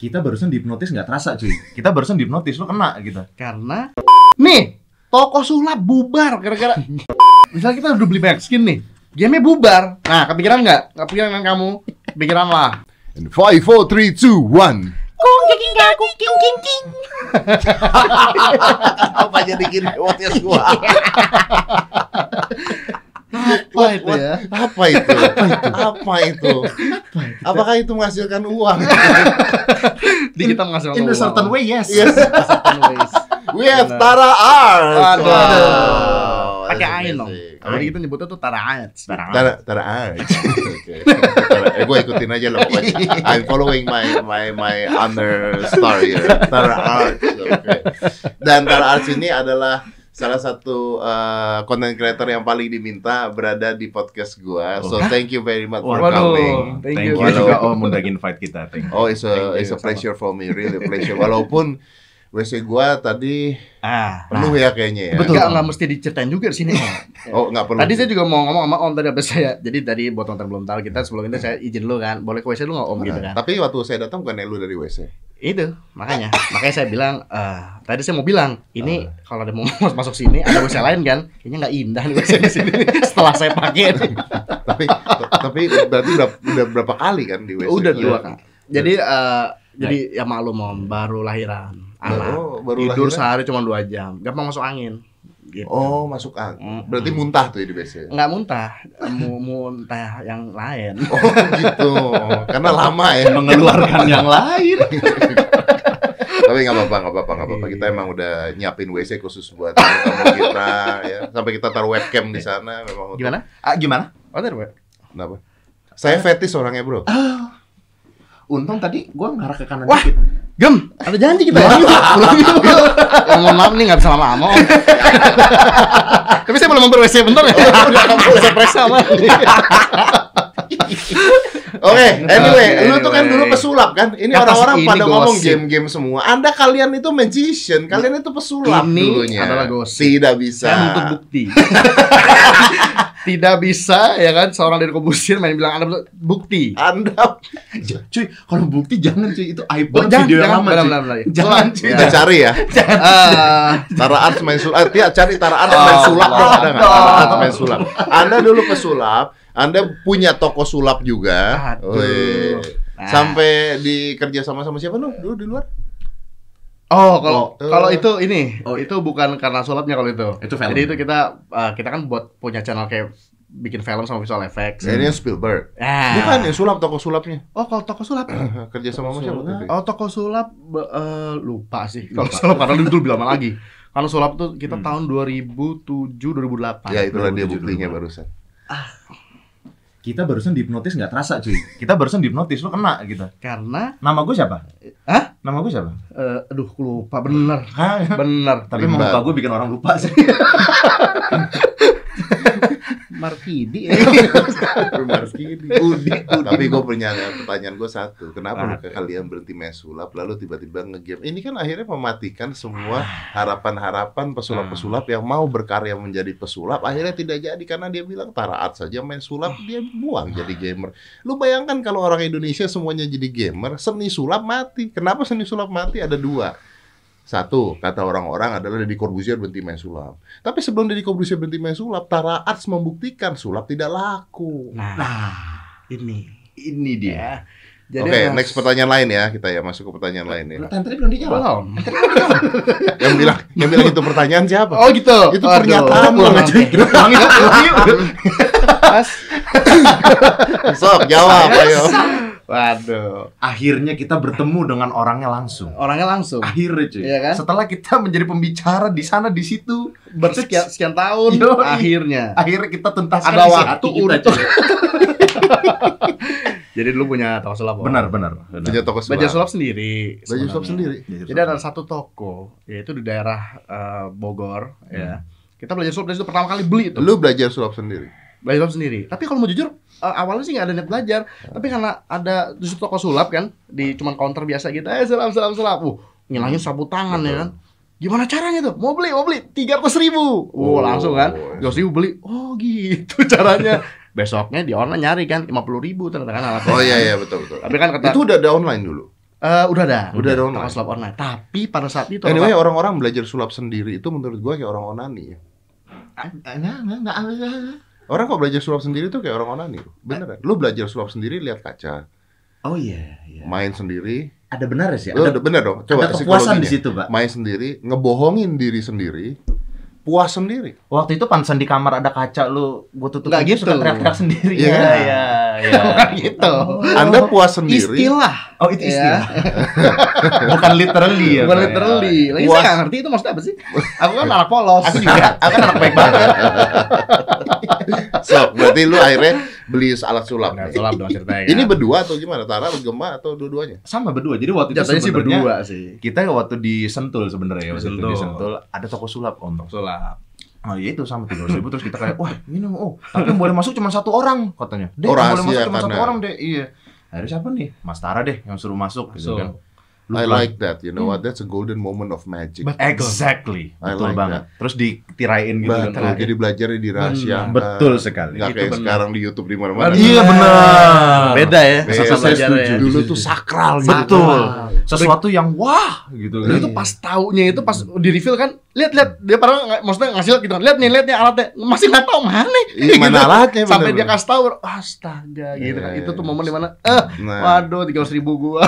kita barusan dihipnotis nggak terasa cuy kita barusan dihipnotis lu kena gitu Karena nih toko sulap bubar gara-gara misalnya kita udah beli banyak skin nih, gamenya bubar. Nah, kepikiran nggak? Kepikiran kan kamu? Kepikiran lah. And five, four, three, two, one. apa jadi gini podcast gua Iya. Apa itu ya? Apa itu? Apa itu? Apakah itu menghasilkan uang? Di kita menghasilkan in a uang. certain way yes, Yes. Certain ways. We have Tara Arts. Aduh. Wow. Pakai That's ain dong. amazing. Kalau kita nyebutnya tuh taraat. Taraat. Tara, Tara ah, gitu. Arts. Oke. Tara, eh, gue ikutin aja loh pokoknya. I'm following my my my under star here. Tara Arts. Oke. Dan Tara Arts ini adalah salah satu eh, content creator yang paling diminta berada di podcast gua. So thank you very much for Oh. coming. Waduh, thank you. you juga, om udah invite kita thank Oh, it's a Thank you, it's a sama. pleasure for me, really pleasure. Walaupun WC gua tadi Ah, penuh ya kayaknya ya. Betul. Enggak, enggak mesti diceritain juga di sini. Oh, nggak perlu. Tadi saya juga mau ngomong sama Om tadi apa saya. Jadi tadi buat nonton belum tahu kita sebelum itu saya izin dulu kan. Boleh ke WC dulu nggak Om gitu kan? Nah, Tapi waktu saya datang bukan lu dari WC. Itu makanya. Makanya saya bilang eh tadi saya mau bilang ini kalau ada mau mau masuk sini ada WC lain kan? Kayaknya nggak indah nih WC di sini setelah saya pakai. nih. tapi tapi berarti udah, udah berapa kali kan di WC? Udah dua kan. Jadi eh jadi ya maklum Om baru lahiran anak. Oh, baru Tidur lahiran? sehari cuma dua jam. Gampang masuk angin. Gitu. Oh, masuk angin. Berarti muntah tuh ya di WC. Nggak muntah, mu muntah yang lain. Oh, gitu. Karena lama ya. mengeluarkan yang lain tapi nggak apa-apa, nggak apa-apa, nggak Iya. apa-apa. Kita emang udah nyiapin WC khusus buat tamu kita ya. Sampai kita taruh webcam di sana memang. untuk- Gimana? ah, gimana Oh, tadi, Pak. Kenapa? Saya fetis orangnya, Bro. Ah, untung tadi gua ngarah ke kanan Wah, dikit Gem, ada janji kita ya. Pulang yuk. Ya, mohon maaf nih nggak bisa lama-lama. Om. Tapi saya belum memperwc bentar ya. Udah kamu saya periksa sama. Oke, Ah, anyway, Oke, iya, lu tuh kan anyway. dulu pesulap kan? Ini Kata orang-orang ini pada ngomong gosip. game-game semua. Anda kalian itu magician, kalian itu pesulap Ini dulunya. adalah gosip. Tidak bisa. Saya butuh bukti. Tidak bisa ya kan seorang dari Kobusir main bilang ada bukti. Anda J- cuy kalau bukti jangan cuy itu aib Oh, banget jangan, video yang jangan, lama cuy. benar, benar, benar. jangan cuy kita cari ya. Eh, Tara Arts main sulap. Eh, Tia, cari Tara Arts main Oh, sulap dong, ada nggak? Allah. Tara Arts main sulap. Anda dulu pesulap, Anda punya toko sulap juga. Aduh. Wih. Nah. Sampai dikerja sama sama siapa lu dulu di luar? Oh, kalau Waktu- kalau itu ini, Oh, itu bukan karena sulapnya kalau itu. Itu film. Jadi itu kita eh, kita kan buat punya channel kayak bikin film sama visual effects. Ini Spielberg. Ah. Bukan ya? yang sulap toko sulapnya. Oh, kalau toko sulap. Kerja sama sama siapa? Sulap. tadi? Oh, toko sulap be- eh, lupa sih. Kalau sulap karena itu lebih lama lagi. Kalau sulap tuh kita tahun 2007 2008. Ya itulah dia 2007 buktinya dulu. barusan. kita barusan dihipnotis nggak terasa cuy kita barusan dihipnotis lu kena gitu Karena nama gue siapa Hah? nama gue siapa eh, aduh aku lupa bener. Hah? Bener. tapi emang Rimba. muka gue bikin orang lupa sih Markidi. Udi, Tapi gue punya pertanyaan gue satu. Kenapa Apa? kalian berhenti main sulap lalu tiba-tiba ngegame? Ini kan akhirnya mematikan semua harapan-harapan pesulap-pesulap yang mau berkarya menjadi pesulap akhirnya tidak jadi karena dia bilang taraat saja main sulap dia buang jadi gamer. Lu bayangkan kalau orang Indonesia semuanya jadi gamer, seni sulap mati. Kenapa seni sulap mati? Ada dua. Satu, kata orang-orang adalah Deddy Corbuzier berhenti main sulap. Tapi sebelum Deddy Corbuzier berhenti main sulap, Tara Arts membuktikan sulap tidak laku. Nah, nah ini. ini dia Ya. Jadi Oke, mas- next pertanyaan lain ya kita ya masuk ke pertanyaan lain ya. Lu tadi tadi belum dijawab Iya, Belum. Yang bilang yang bilang itu pertanyaan siapa? Oh gitu. Itu pernyataan lu lo. nanti. Kita pulang yuk, pulang yuk. Mas. Sok jawab ayo. Waduh. akhirnya kita bertemu dengan orangnya langsung Orangnya langsung. akhirnya cuy Iya kan? setelah kita menjadi pembicara di sana di situ Bersekian sekian tahun Yoi. akhirnya. akhirnya kita tuntaskan Ada isi waktu hati kita, untuk- cuy. Jadi dulu punya toko sulap. Om. benar benar benar. Baju toko sulap. Belajar sulap sendiri. Baju sebenarnya. sulap sendiri. Jadi ada satu toko yaitu di daerah eh, Bogor ya. Hmm. Kita belajar sulap dari situ pertama kali beli itu. Lu belajar sulap sendiri. Belajar sulap sendiri. Tapi kalau mau jujur eh, awalnya sih nggak ada niat belajar, tapi karena ada di situ toko sulap kan di cuman counter biasa gitu. Eh sulap sulap sulap. Uh, ngilangin sapu tangan ya kan. Gimana caranya tuh? Mau beli, mau beli tiga ratus ribu. Uh, Oh. langsung kan. Tiga ribu beli. Oh gitu caranya. Besoknya di online nyari kan lima puluh ribu ternyata kan alat. Oh iya iya betul betul. Tapi kan kata Itu udah ada online dulu. Eh, udah ada. Udah ada online. Toko sulap online. Tapi pada saat itu Anyway, Pak, orang-orang belajar sulap sendiri itu menurut gua kayak orang onani ya. Orang kok belajar sulap sendiri tuh kayak orang onani. Beneran. Lu belajar sulap sendiri lihat kaca, Oh iya, iya. main sendiri. Ada benar sih. Lu Ada, udah bener dong. ada Coba kepuasan di psikologinya. situ, Pak. Main sendiri, ngebohongin diri sendiri, puas sendiri. Waktu itu pantesan di kamar ada kaca lu, gua tutup Nggak gitu. suka gitu. teriak-teriak sendiri. Iya kan? iya. iya. gitu. Anda puas oh, sendiri. Istilah. Oh, itu istilah. Bukan literally ya. iya, Iya. Pak, Bukan ya. literally. Lagi Puas. saya nggak ngerti itu maksudnya apa sih? Aku kan anak polos. Aku juga, aku kan anak baik banget. So, berarti lu akhirnya beli alat sulap. Nah, sulap dong ya. ceritanya. Ini berdua atau gimana? Tara bergema atau dua-duanya? Sama berdua. Jadi waktu itu Jatuhnya sih sebenarnya berdua sih. kita waktu di Sentul sebenarnya ya, waktu itu Sentul. di Sentul ada toko sulap om Tok sulap. oh ya itu sama tiga ribu terus kita kayak wah ini oh tapi yang boleh masuk cuma satu orang katanya deh yang Oh, boleh masuk rahasia cuma satu karena- orang deh iya harus siapa nih Mas Tara deh yang suruh masuk gitu Masuk. kan Lu I bilang, like that. You know what? That's a golden moment of magic. exactly I betul like banget terus ditirain gitu kan Betul. Jadi belajarnya dirahasiakan. betul sekali Nggak Itu kayak benar. sekarang di YouTube di mana-mana. iya benar Beda ya. Beda, masa saya belajarnya setuju. ya. Dulu tuh sakral gitu. betul sesuatu yang wah gitu Dulu Iya. kan itu pas taunya itu pas di reveal kan lihat lihat dia padahal nggak- maksudnya ngasih lihat gitu kan lihat nih lihat nih alatnya masih nggak tahu mana Iya, mana alatnya sampai dia kan, bener-bener. kasih tahu astaga gitu kan Iya, itu tuh iya. momen dimana eh Nah, waduh tiga ribu gua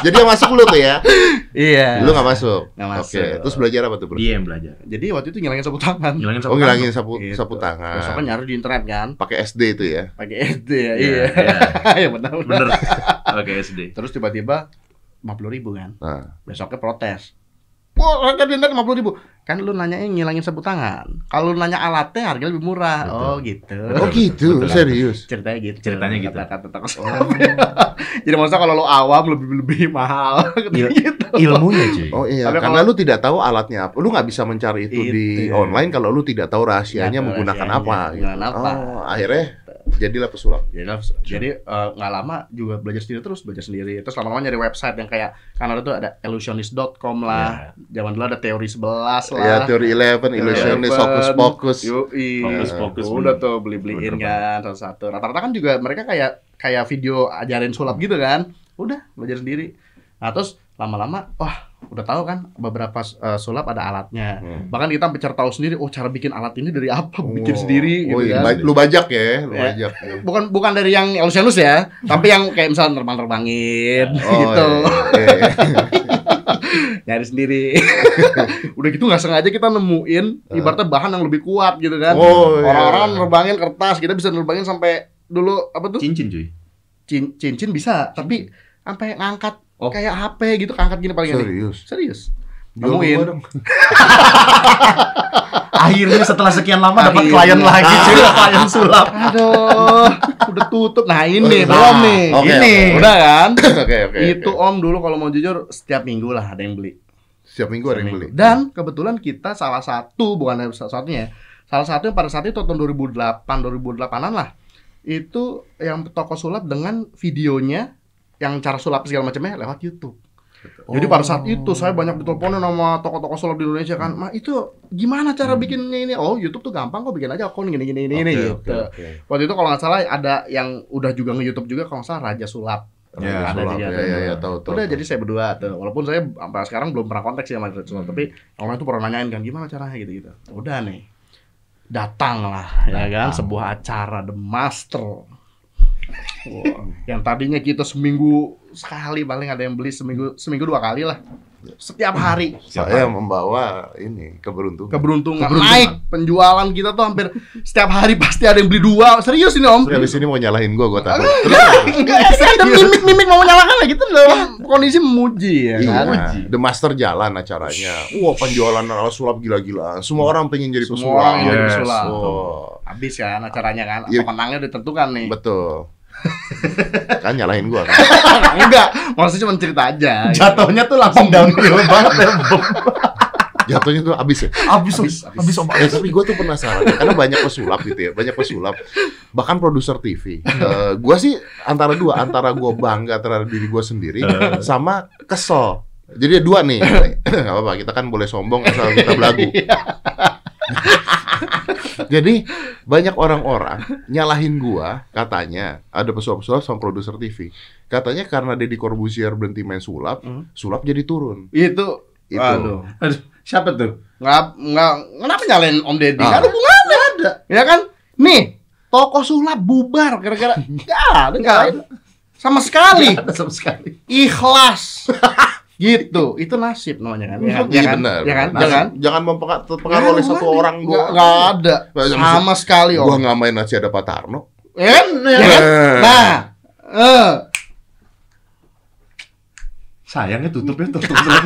jadi yang masuk lu tuh ya. iya Lu nggak masuk. Nggak Oke, masuk. terus belajar apa tuh, Bro? dia yang belajar jadi waktu itu ngilangin sapu tangan ngilangin Oh, ngilangin sapu Gitu. sapu terus apa tangan. nyari di internet kan Pakai SD itu ya. pakai SD ya iya iya iya. ya benar benar bener oke SD terus tiba-tiba lima puluh ribu kan Nah, besoknya protes Wah, harga di internet lima puluh ribu. Kan lu nanya ngilangin sapu tangan. Kalau lu nanya alatnya harganya lebih murah. Betul. Oh gitu. oh gitu, serius. ceritanya gitu Ceritanya gitu. kata-kata tentang sulap jadi maksudnya kalau lo awam lebih lebih mahal Iya. gitu ilmunya cuy Oh iya, Tapi karena lu tidak tahu alatnya apa. Lu nggak bisa mencari itu Itu. iya. di online kalau lu tidak tahu Nggak rahasianya tahu menggunakan rahasianya, apa. menggunakan apa. Oh, akhirnya jadilah pesulap. jadi Ya jadi eh, nggak lama juga belajar sendiri terus belajar sendiri terus lama-lama nyari website yang kayak karena itu ada illusionist.com lah zaman dulu ada teori 11 lah Ya teori 11, illusionist, Iya. Eleven. Iya. hocus pocus. Yoi. Fokus-fokus, udah bener. tuh Bener, beli-beliin kan satu-satu. Rata-rata kan juga mereka kayak kayak video ajarin sulap gitu kan. Udah belajar sendiri. Nah, terus lama-lama wah udah tahu kan beberapa eh, sulap ada alatnya. Hmm. Bahkan kita sampai cari tahu sendiri oh cara bikin alat ini dari apa, bikin Oh. sendiri gitu Oh, kan. iya. Ba- Lu bajak ya, lu Ya. bajak. Bukan bukan dari yang Elsianus ya, tapi yang kayak misalnya terbang-terbangin gitu. Oh, iya, iya, iya. Nyari sendiri. udah gitu nggak sengaja kita nemuin ibaratnya bahan yang lebih kuat gitu kan. Oh, iya. Orang-orang nerbangin kertas, kita bisa nerbangin sampai dulu apa tuh? cincin cuy Cin- cincin bisa, tapi sampai ngangkat Oh. kayak HP gitu, ngangkat gini paling gini. Serius. Serius. Jual Nemuin. gua dong. akhirnya setelah sekian lama dapat Akhirnya. klien lagi cuy klien sulap Aduh, udah tutup. Nah, ini Nah, belum nih. oke, ini oke. udah kan? Oke, oke. Itu oke. Om dulu kalau mau jujur setiap minggu lah ada yang beli. Setiap minggu ada yang beli. Dan kebetulan kita salah satu bukan ada salah satunya. ya. Salah satu yang pada saat itu tahun 2008, 2008-an lah. Itu yang toko sulap dengan videonya yang cara sulap segala macamnya lewat YouTube. Jadi pada saat Oh. itu saya banyak diteleponin sama toko-toko sulap di Indonesia kan. Ma itu gimana cara bikinnya ini? Oh YouTube tuh gampang kok bikin aja akun gini gini gini gini Hmm. Oke, gitu. oke, oke. Waktu itu kalau nggak salah ada yang udah juga nge YouTube juga kalau nggak salah Raja Sulap. Ya, Ada sulap. di- Ya, ada ya, di- ya, tahu, tahu. Udah tahu. jadi saya berdua tuh. Walaupun saya sampai sekarang belum pernah kontak sih sama Red Soul, tapi orang itu pernah nanyain kan gimana caranya gitu-gitu. Udah nih. Datanglah ya kan sebuah acara The Master. Wah, yang tadinya kita seminggu sekali paling ada yang beli seminggu seminggu dua kali lah. Setiap hari saya membawa ini keberuntungan. keberuntungan, naik penjualan kita tuh hampir setiap hari pasti ada yang beli dua. Serius ini Om. Terus abis ini mau nyalahin gua, gua tahu. Enggak, saya ada mimik-mimik mau menyalakan lah gitu loh. Kondisi memuji ya kan. Iya. The Master jalan acaranya. Wah, penjualan alat sulap gila-gilaan. Semua orang pengen jadi Hmm. Semua pesulap. orang ingin jadi Yes. pesulap. Oh, Habis kan acaranya kan. Iya. Pemenangnya udah ditentukan nih. betul. kan nyalahin gua kan. Enggak, maksudnya cuma cerita aja. Iya. gitu. jatuhnya tuh langsung downhill banget ya Bom. Jatuhnya tuh abis ya. abis Abis, abis abis om Eh, tapi gua tuh penasaran ya, karena banyak pesulap gitu ya, banyak pesulap. Bahkan produser TV. Eh, gua sih antara dua, antara gua bangga terhadap diri gua sendiri sama kesel. Jadi ada dua nih. Gak apa-apa, kita kan boleh sombong asal kita belagu. Jadi banyak orang-orang nyalahin gua katanya ada pesulap-pesulap sama produser TV. Katanya karena Deddy Corbuzier berhenti main sulap, Hmm. sulap jadi turun. Itu Itu. Aduh. Aduh, siapa tuh? Nggak, nggak, kenapa nyalain Om Deddy? Ah. Nggak ada hubungannya. ada. Ya kan? Nih, toko sulap bubar gara-gara nggak ada nyalain. Sama sekali. Ada sama sekali. Ikhlas. gitu. Itu nasib namanya kan. Ya, kan? Iya ya kan? benar. Ya kan? Nah, Ya kan? Jangan mempengaruhi terpengaruh oleh satu orang gua. gua. Nggak ada. Nggak, Sama sekali Gua Om. nggak main nasi ada Pak Tarno. Ya kan? Ya kan? Eh. Nah, eh, Sayangnya tutupnya tutup tutup.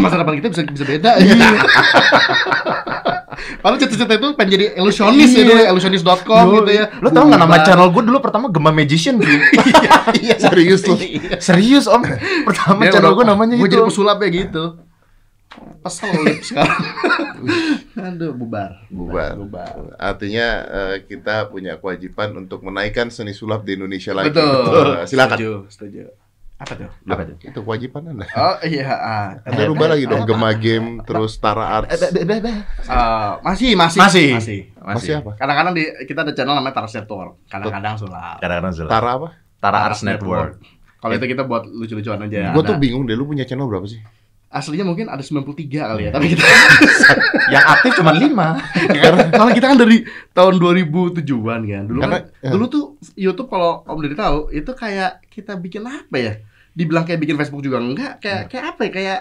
masa depan kita bisa bisa beda Iya. ya. Padahal cita-cita itu pengen jadi ilusionis ya dulu, ilusionis.com gitu ya. Iya. Lo tau nggak nama Bubar. channel gue dulu pertama Gema Magician? Ji? Serius lu. Serius om, pertama Ya, channel Iya, udah, gue namanya gua itu. jadi pesulap ya gitu. Kesel lip sekarang. Aduh, bubar. Bubar. Bubar. Artinya eh, kita punya kewajiban untuk menaikkan seni sulap di Indonesia lagi. Betul. Eh, silakan. Nah, Setuju, setuju. Apa tuh? Apa tuh? Itu kewajiban Anda. Oh iya, ah. Anda rubah lagi dong Gema Game terus Tara Arts. Eh, masih, Masih. masih, eh, masih. ya? Masih apa? Kadang-kadang di kita ada channel namanya Tarset Tour. Kadang-kadang sulap. Kadang-kadang Zula. Tara apa? Tara Arts Network. Kalau itu kita buat lucu-lucuan aja. Nah. Gue tuh Ada- bingung deh lu punya channel berapa sih? aslinya mungkin ada 93 kali ya, Iya. tapi kita Yang aktif cuma lima. Karena kita kan dari tahun 2007-an kan. Dulu Karena- kan, ya. dulu tuh YouTube kalau Om Deddy tahu itu kayak kita bikin apa ya? Dibilang kayak bikin Facebook juga enggak, kayak kayak apa ya? Kayak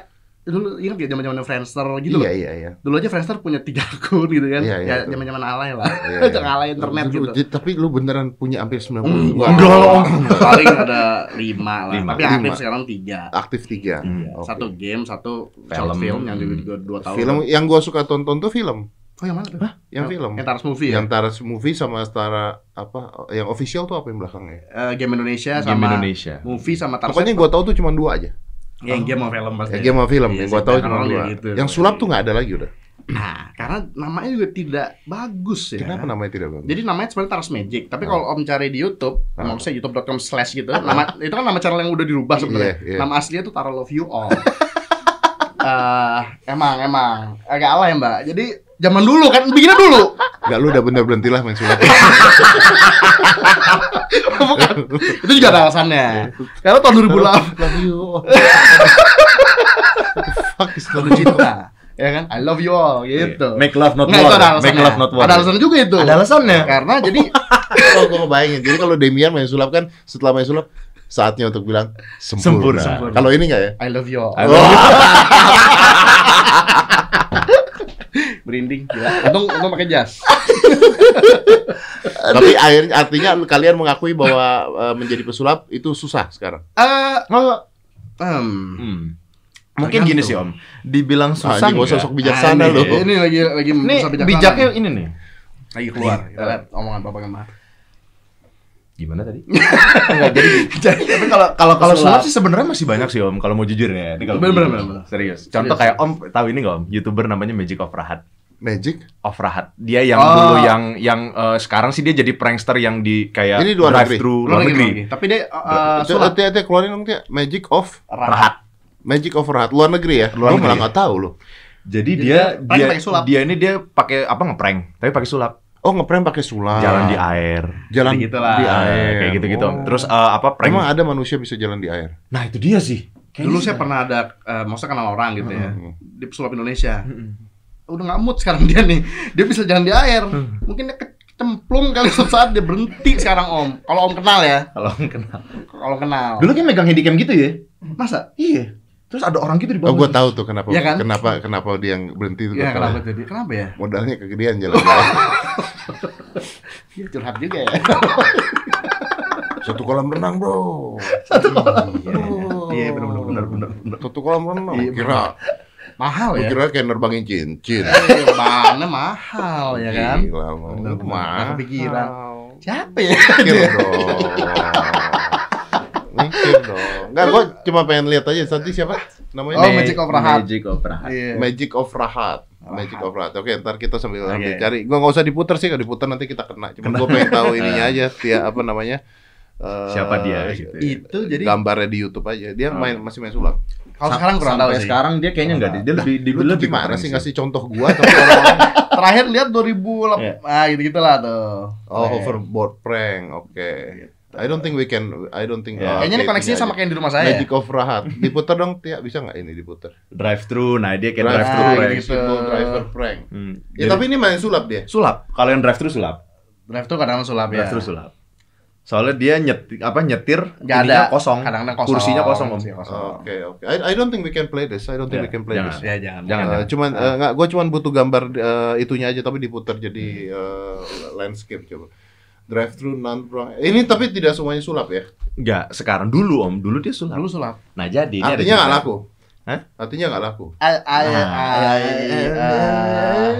dulu ingat ya zaman-zaman Friendster gitu loh. iya, iya, iya. Dulu aja Friendster punya tiga akun gitu kan. Iya, iya, ya betul. zaman-zaman alay lah. Iya, Itu iya. alay internet Lu- gitu. Mm, Hmm, lu- Tapi lu beneran punya hampir 90 Enggak, Enggak lah, Om. Paling ada lima lah. Lima. Tapi yang aktif Lima. sekarang tiga. Aktif tiga. Hmm. Oke. Mm, Satu game, satu Film. short film yang juga dua tahun. Film yang gua suka tonton tuh film, Oh yang mana tuh? yang film. Yang Tars Movie ya? Yang Tara movie sama Tara apa yang official tuh apa yang belakangnya? Eh, game Indonesia Game sama Indonesia. movie sama Tarset Pokoknya gua tahu tuh cuma dua aja. Ya, yang game sama film pasti. Yang game sama film Iya yang sih, gua tahu karena cuma orang dua. ya gitu. Yang sulap tuh nggak ada lagi udah. Nah, karena namanya juga tidak bagus ya. Kenapa namanya tidak bagus? Jadi namanya sebenarnya Taras Magic, tapi kalau Om cari di YouTube, Ah. maksudnya youtube.com slash gitu, nama itu kan nama channel yang udah dirubah sebenarnya. Iya, iya. Nama aslinya tuh Tara Love You All. Eh, emang emang agak alay Mbak. Jadi zaman dulu kan bikinnya dulu. Gak lu udah bener berhentilah main sulap. Bukan. Itu juga ada alasannya. Karena tahun 2008 Love you. Fuck is baru cinta. Ya kan? I love you all Iya. gitu. Make love not Nggak, itu war. ada alasannya. Make love not war. Ada alasannya juga itu. Ada alasannya. Karena jadi Kalau gue ngebayangin, jadi kalau Demian main sulap kan setelah main sulap saatnya untuk bilang Sempurna. sempurna. Sempurna. Kalau ini nggak ya? I love you all. I love you. Berinding gila. Untung untung pakai jas. Tapi akhir- artinya kalian mengakui bahwa eh, menjadi pesulap itu susah sekarang. Eh, Oh, em, hmm. Mungkin gini sih om, dibilang Susah susah gak usah nggak? sok bijaksana Aneh. lu. ini lagi lagi Ini merusak bijaksana bijaknya nih. ini nih. lagi keluar. Iya. Kita lihat omongan Bapak Gemar. Gimana tadi? Enggak jadi. Tapi kalau kalau kalau sulap sih sebenarnya masih banyak sih om. Kalau mau jujur ya. Ini kalau mau Bener, bener, jujur. bener, bener. Serius. Contoh Serius. kayak om tahu ini nggak om? Youtuber namanya Magic of Rahat. Magic. Of Rahat. Dia yang Oh. dulu yang yang eh, sekarang sih dia jadi prankster yang di kayak Ini luar negeri. thru Keluar luar lagi, negeri. keluar lagi. Tapi dia eh, Itu sulap. tia, tia, keluarin dong tia. Magic of Rahat. Magic of Rahat luar negeri ya. Luar Luar negeri. malah nggak tahu loh. Jadi Jadi dia dia prank dia pakai sulap. dia ini dia pakai apa ngeprank, tapi pakai sulap. Oh ngeprank pakai sulap. Jalan di air. Jalan Gitu lah. di Ah, air. kayak gitu-gitu. Om. Oh. Terus eh, apa prank? Emang ada manusia bisa jalan di air? Nah, itu Hmm. dia sih. Dulu saya pernah ada eh, maksudnya kenal orang gitu ya. Mm-mm. Di sulap Indonesia. Hmm. Udah nggak mood sekarang dia nih. Dia bisa jalan di air. Hmm. Mungkin dia kecemplung kali suatu saat dia berhenti sekarang Om. Kalau Om kenal ya. kalau kenal. Kalau kenal. Dulu kan megang handycam gitu ya? Masa? Iya. Terus ada orang gitu di Oh bawah. gue tahu tuh kenapa Iya kan? kenapa kenapa dia yang berhenti tuh. Ya gua tahu. kenapa tadi? Kenapa ya? Modalnya kegedean jalan di air. Dia curhat juga ya. Satu kolam renang bro. Hmm, Oh. Iya benar-benar benar benar. Satu kolam renang. Iya, kira, Mahal gua ya. kira kayak nerbangin cincin. Eh, Bahannya mahal Iya ya kan? Gila lu. Bener, bener. Mahal. Nggak kepikiran. Siapa ya? Mikir dong. Mikir dong. Enggak, gua cuma pengen lihat aja tadi siapa Oh, namanya? Ma- Magic of Rahat. Magic of Rahat. Iya. Magic of Rahat. Magic of Rahat. Oke, ntar kita sambil Oke. ambil cari. Gua nggak usah diputer sih, kalau diputer nanti kita kena. Cuma gua pengen tahu ininya aja, dia apa namanya? Eh, Siapa dia Oh. gitu ya. Itu jadi gambarnya di YouTube aja. Dia main masih main sulap. Kalau Sam- sekarang kurang tahu sampai sih. sekarang dia kayaknya enggak deh. Dia lebih di Lu tuh gimana sih ngasih contoh gua tapi orang-orang Terakhir lihat 2008. Iya. Ah, gitu-gitu lah tuh. Oh, Keren. hoverboard prank. Oke. Iya. I don't think we can I don't think Ya. uh, Kayaknya ini kayak koneksinya aja. sama kayak yang di rumah saya. ya? Magic of Rahat. Diputar dong, Tia. Bisa nggak ini diputar? drive thru. Nah, dia kayak drive Drive thru. Ah, thru, gitu. Rex. Football driver prank. Hmm. Ya Jadi- tapi ini main sulap dia. sulap. Kalau yang drive thru sulap. Drive tuh kadang sulap ya. Drive thru sulap. Soalnya dia nyetir apa nyetir Nggak ininya ada. kosong. Kadang-kadang kosong. Kursinya kosong, Om. Kursinya kosong. Oke, oke. I, I don't think we can play this. I don't think Ya, we can play jangan. this. Ya jangan. Jangan. Ah. Eh, cuman eh, nggak, gue cuman butuh gambar eh, itunya aja tapi diputar Hmm. jadi eh, landscape coba. Drive thru non prank. Ini tapi tidak semuanya sulap ya. Enggak, sekarang dulu Om. Dulu dia sulap. Dulu sulap. Nah, jadi ini ada Artinya nggak cerita. laku. Hah? Artinya nggak laku. Ay, ay, Ah. Nah, ay, ah.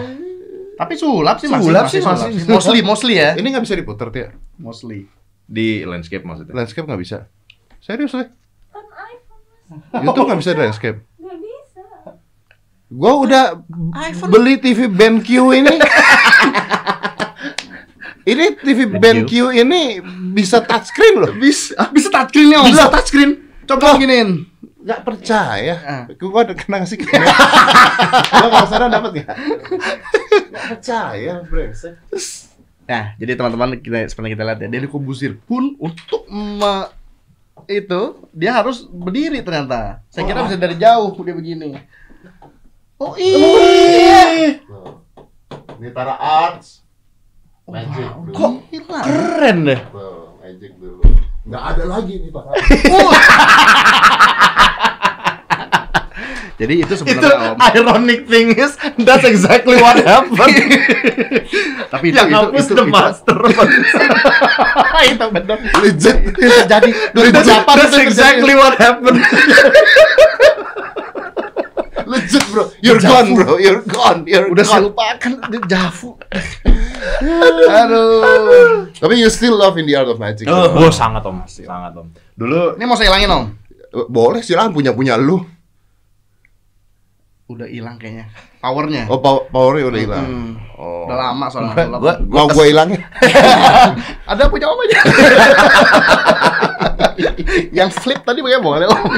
Tapi sulap sih masih. Sulap sih, sulap masih. Mostly, mostly ya. Ini nggak bisa diputar Tia. Mostly. Di landscape maksudnya. Landscape nggak bisa. Serius deh. on iPhone Mas. YouTube nggak bisa landscape. nggak bisa Gua udah beli TV BenQ ini. ini TV BenQ ini bisa touchscreen loh. Bisa, Bisa touchscreen-nya, Om. bisa touchscreen. Coba giniin. Nggak percaya. Ah. Gua ada kena ngasih ke. Lo kalau sana dapat nggak? Nggak percaya, brengsek. Nah, jadi teman-teman kita seperti kita lihat ya, Deddy Kubusir pun untuk me- itu dia harus berdiri ternyata. Saya kira bisa dari jauh dia begini. Oh iya. Tuh. Ini Tara Arts. Magic dulu. Kok gila. Keren deh. Tuh, Magic dulu. Nggak ada lagi nih Tara. Jadi itu Itu sebenarnya Om. ironic thing is that's exactly what happened. tapi itu Yang itu hapus itu, the itu, master. itu benar. Legit. Itu terjadi That's, 2008 that's itu exactly what happened. Legit bro, you're gone bro, you're gone, terjadi. you're udah saya gone. kan lupakan dia Javu. Aduh. Tapi you still love in the art of magic. bro. Oh, sangat om, sangat om. Dulu Oh, Ini mau saya hilangin, Om. Boleh silakan punya punya lu. Udah hilang kayaknya. Powernya. Oh pow- powernya udah hilang. Hmm. Oh. Udah lama soalnya. Udah gua- lama. Mau gua hilangin? Ada punya om aja. yang flip tadi pakai boleh om.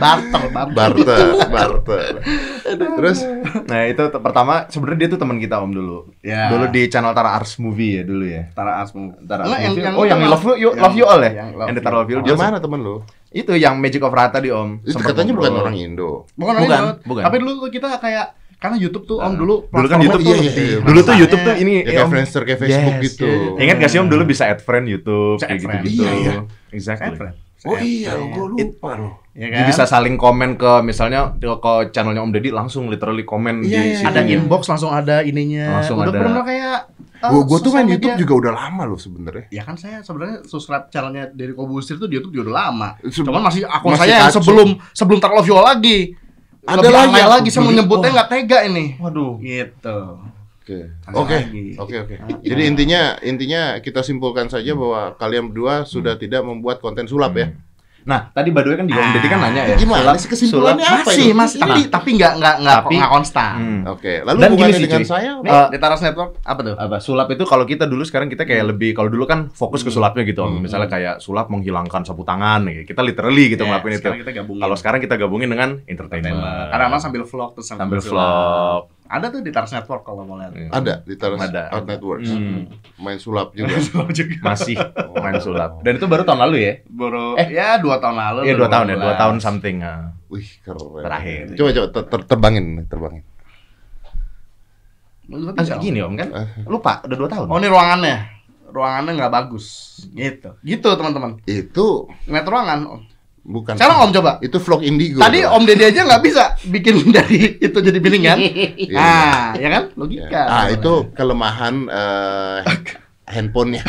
barter, barter. Barter, barter. Terus Nah itu t- pertama sebenarnya dia tuh teman kita om dulu. Ya. Dulu di channel Tara Arts Movie ya dulu ya. Tara Asmu. Tara Arts Nah, yang- Movie. yang oh yang kenal- love you, you- yang- love you all ya. yang Yang, Love di Tara love you all. dia mana temen lu? Itu yang Magic of Rata di om. Itu Sempet katanya bukan ngobrol. orang Indo. Bukan, Bukan, bukan, bukan. Tapi dulu tuh kita kayak karena YouTube tuh om Nah, dulu dulu kan platformnya YouTube tuh iya, lebih iya, iya. Dulu tuh masanya- YouTube tuh ini Ya kayak Eh, Om. Friendster, kayak Facebook Yes. gitu. Ingat gak sih om dulu bisa add friend YouTube Bisa kayak add gitu friend. gitu. Iya, iya. Exactly. Oh iya, gua lupa loh. Ya Jadi kan? bisa saling komen ke misalnya ke channelnya Om Deddy langsung literally komen Iya, di iya, situ. ada inbox langsung ada ininya. Langsung Udah ada. benar kayak eh, Gua, gua tuh main sosial YouTube media. juga udah lama loh sebenarnya. Ya kan saya sebenarnya subscribe channelnya dari Kobusir tuh di YouTube juga udah lama. Se- Cuman masih akun masih saya yang kacau. sebelum sebelum Tara Love You All lagi. Ada Lebih lagi aneh aku lagi saya beli. menyebutnya oh. Wah. nggak tega ini. Waduh. Gitu. Oke. Ada Oke. lagi. Oke, oke. Ah, Jadi intinya intinya kita simpulkan saja bahwa kalian berdua sudah tidak membuat konten sulap ya. Nah, tadi by the way kan juga Om Deddy kan nanya ya. Ah, Gimana sih sulap- kesimpulannya apa masih, itu? masih, tapi tapi nggak nggak nggak Tapi- nggak konstan. Hmm. Oke, lalu Dan gini hubungannya sih, dengan cuy. saya Nih, Eh, di Taras Network apa tuh? apa sulap itu kalau kita dulu sekarang kita kayak lebih kalau dulu kan fokus Hmm. ke sulapnya gitu Om. misalnya kayak sulap menghilangkan sapu tangan kayak kita literally gitu Ya, ngelakuin itu sekarang kita gabungin. kalau sekarang kita gabungin dengan Entertainment. entertainment Karena emang sambil vlog terus Sambil sulap. vlog. Ada tuh di Taras Network kalau mau lihat. Iya. ada di Taras Ada. Art Networks. Hmm. Main sulap juga. Sulap juga. masih main sulap dan itu baru tahun lalu ya Baru Eh. ya dua tahun lalu. Iya dua tahun ya dua 2012. tahun something ah. Wih, keren. Terakhir. Coba coba ter- ter- terbangin, terbangin. Lu ngerti Ah, nggak, Om? gini om kan lupa udah dua tahun Oh ini ruangannya. Ruangannya nggak bagus. Gitu. Gitu teman-teman. Itu Ngeliat ruangan Om. Kan. bukan. Sekarang Om coba. Itu vlog indigo. Tadi Bro. Om Deddy aja nggak bisa bikin dari itu jadi bilingan. Iya. ah, ya kan? Ya. Logika. Ah, itu kelemahan eh, handphonenya.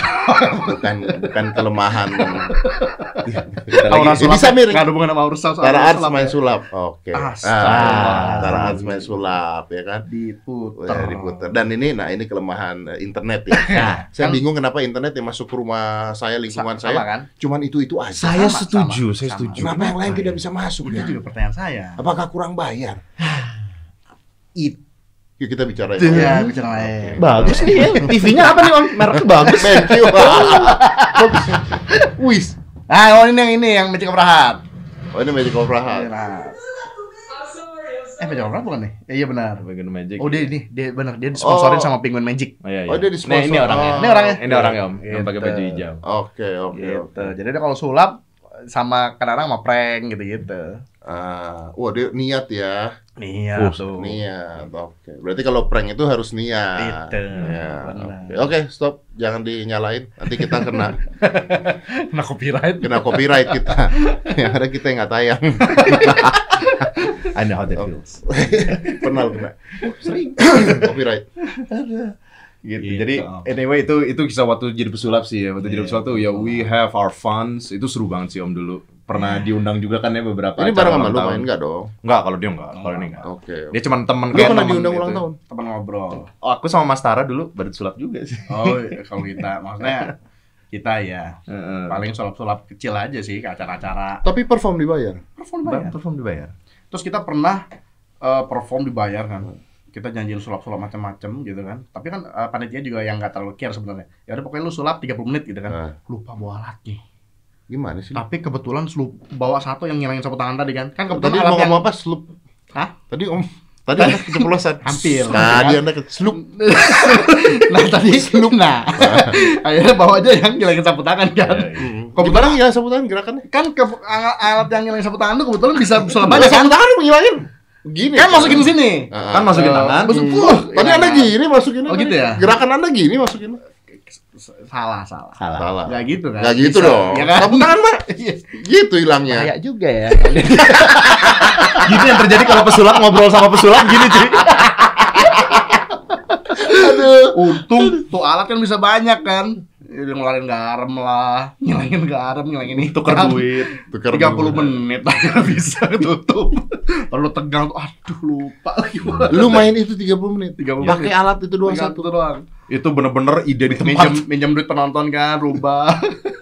bukan bukan kelemahan. Bentar lagi. Aura Ini sulap. bisa miring. Nggak ada hubungan sama urusan soal Tara aura Arts sulap. ya. main sulap. Oke. Ah, Ah, Tara Arts main sulap ya kan. Oh, Diputer. iya, Wah, diputer. Dan ini, nah ini kelemahan eh, internet ya. Nah, saya kan- bingung kenapa internet yang masuk ke rumah saya, lingkungan Sa- sama saya, kan? cuman itu itu aja. saya Sama, setuju sama, saya sama. setuju Kenapa yang lain tidak bisa masuk Itu ya? juga pertanyaan saya. Apakah kurang bayar? Yuk kita bicara ya. itu. Iya, bicara lain. bagus nih ya TV-nya apa nih om mereknya bagus Thank you. Wis. Ah, oh ini yang ini yang Magic of Rahat. Oh ini Magical Praha. Nah. Eh Magic Opera bukan nih? Ya, iya benar. Penguin Magic. Oh dia ini, dia benar dia disponsorin Oh. sama Penguin Magic. Oh, iya, iya. Oh, dia Nah, disponsor. ini orangnya. Oh. Ini orangnya? Ini orangnya om, yang Gitu. pakai baju hijau. Oke oke Gitu. oke. Jadi dia kalau sulap sama kadang sama prank gitu-gitu. Ah, wah dia niat ya, Uh, Iya tuh. niat. Oke. Berarti kalau prank itu harus niat. Itu. Ya, Benar. Oke Oke, stop, jangan dinyalain. Nanti kita kena Nah copyright. kena copyright kita. yang ada kita yang nggak tayang. I know how that Oh. feels. Pernah kena. Sering copyright. Gitu. Gitu, Jadi Om. anyway itu itu kisah waktu jadi pesulap sih ya. Waktu jadi Iya. pesulap tuh ya we have our funs itu seru banget sih om dulu. Pernah diundang juga kan ya beberapa Ini acara bareng sama ulang lu tahun. main nggak dong? Enggak, kalau dia enggak, kalau ini enggak. Oke. oke. ya. Dia cuma temen Lu pernah temen diundang gitu. ulang tahun? Teman ngobrol. Oh, aku sama Mas Tara dulu baru sulap juga sih. Oh, kalau kita maksudnya kita ya Heeh. paling sulap-sulap kecil aja sih ke acara-acara Tapi perform dibayar. perform Ba- bayar. perform dibayar. Terus kita pernah eh, perform dibayar kan. Kita janjiin sulap-sulap macam-macam gitu kan. Tapi kan eh, panitia juga yang nggak terlalu care sebenarnya. Ya udah pokoknya lu sulap 30 menit gitu kan. Nah, Lupa bawa alatnya. gimana sih? Tapi kebetulan lu bawa satu yang ngilangin sapu tangan tadi kan. Kan Tadi kebetulan mau alatnya ngomong apa? Slup. Hah? Tadi om Tadi anda keceplosan. Hampir. Tadi anda ke slup. nah tadi slup nah. Akhirnya bawa aja yang ngilangin sapu tangan Iya, kan. Kok barang ya sebutan gerakannya? Kan ke, al- alat yang ngilangin sapu tangan tuh kebetulan bisa sulap Banyak banyak kan. sapu tangan ngilangin. Gini. Ah, Kan masukin sini. Kan masukin Eh, tangan. maksud- Hmm. Wuh, Tadi ya. anda gini masukin. Oh, gitu ya? Gerakan anda gini masukin. Salah, salah. Salah. Salah. Gak gitu kan? Gak gitu Bisa, dong. Ya kan? Sapu tangan mah gitu hilangnya. Kayak juga ya. Gini yang terjadi kalau pesulap ngobrol sama pesulap gini, cuy. Aduh. Untung tuh alat kan bisa banyak kan. Udah ngeluarin garam lah, ngilangin garam, ngilangin ini. Tuker duit. Tukar 30 dulu. menit akhirnya bisa ketutup. Lalu tegang tuh, aduh lupa lagi. Lu main itu 30 menit. Iya, 30 menit. Pakai alat itu doang satu. satu doang. Itu bener-bener ide di Minjem, tempat. minjem duit penonton kan, rubah.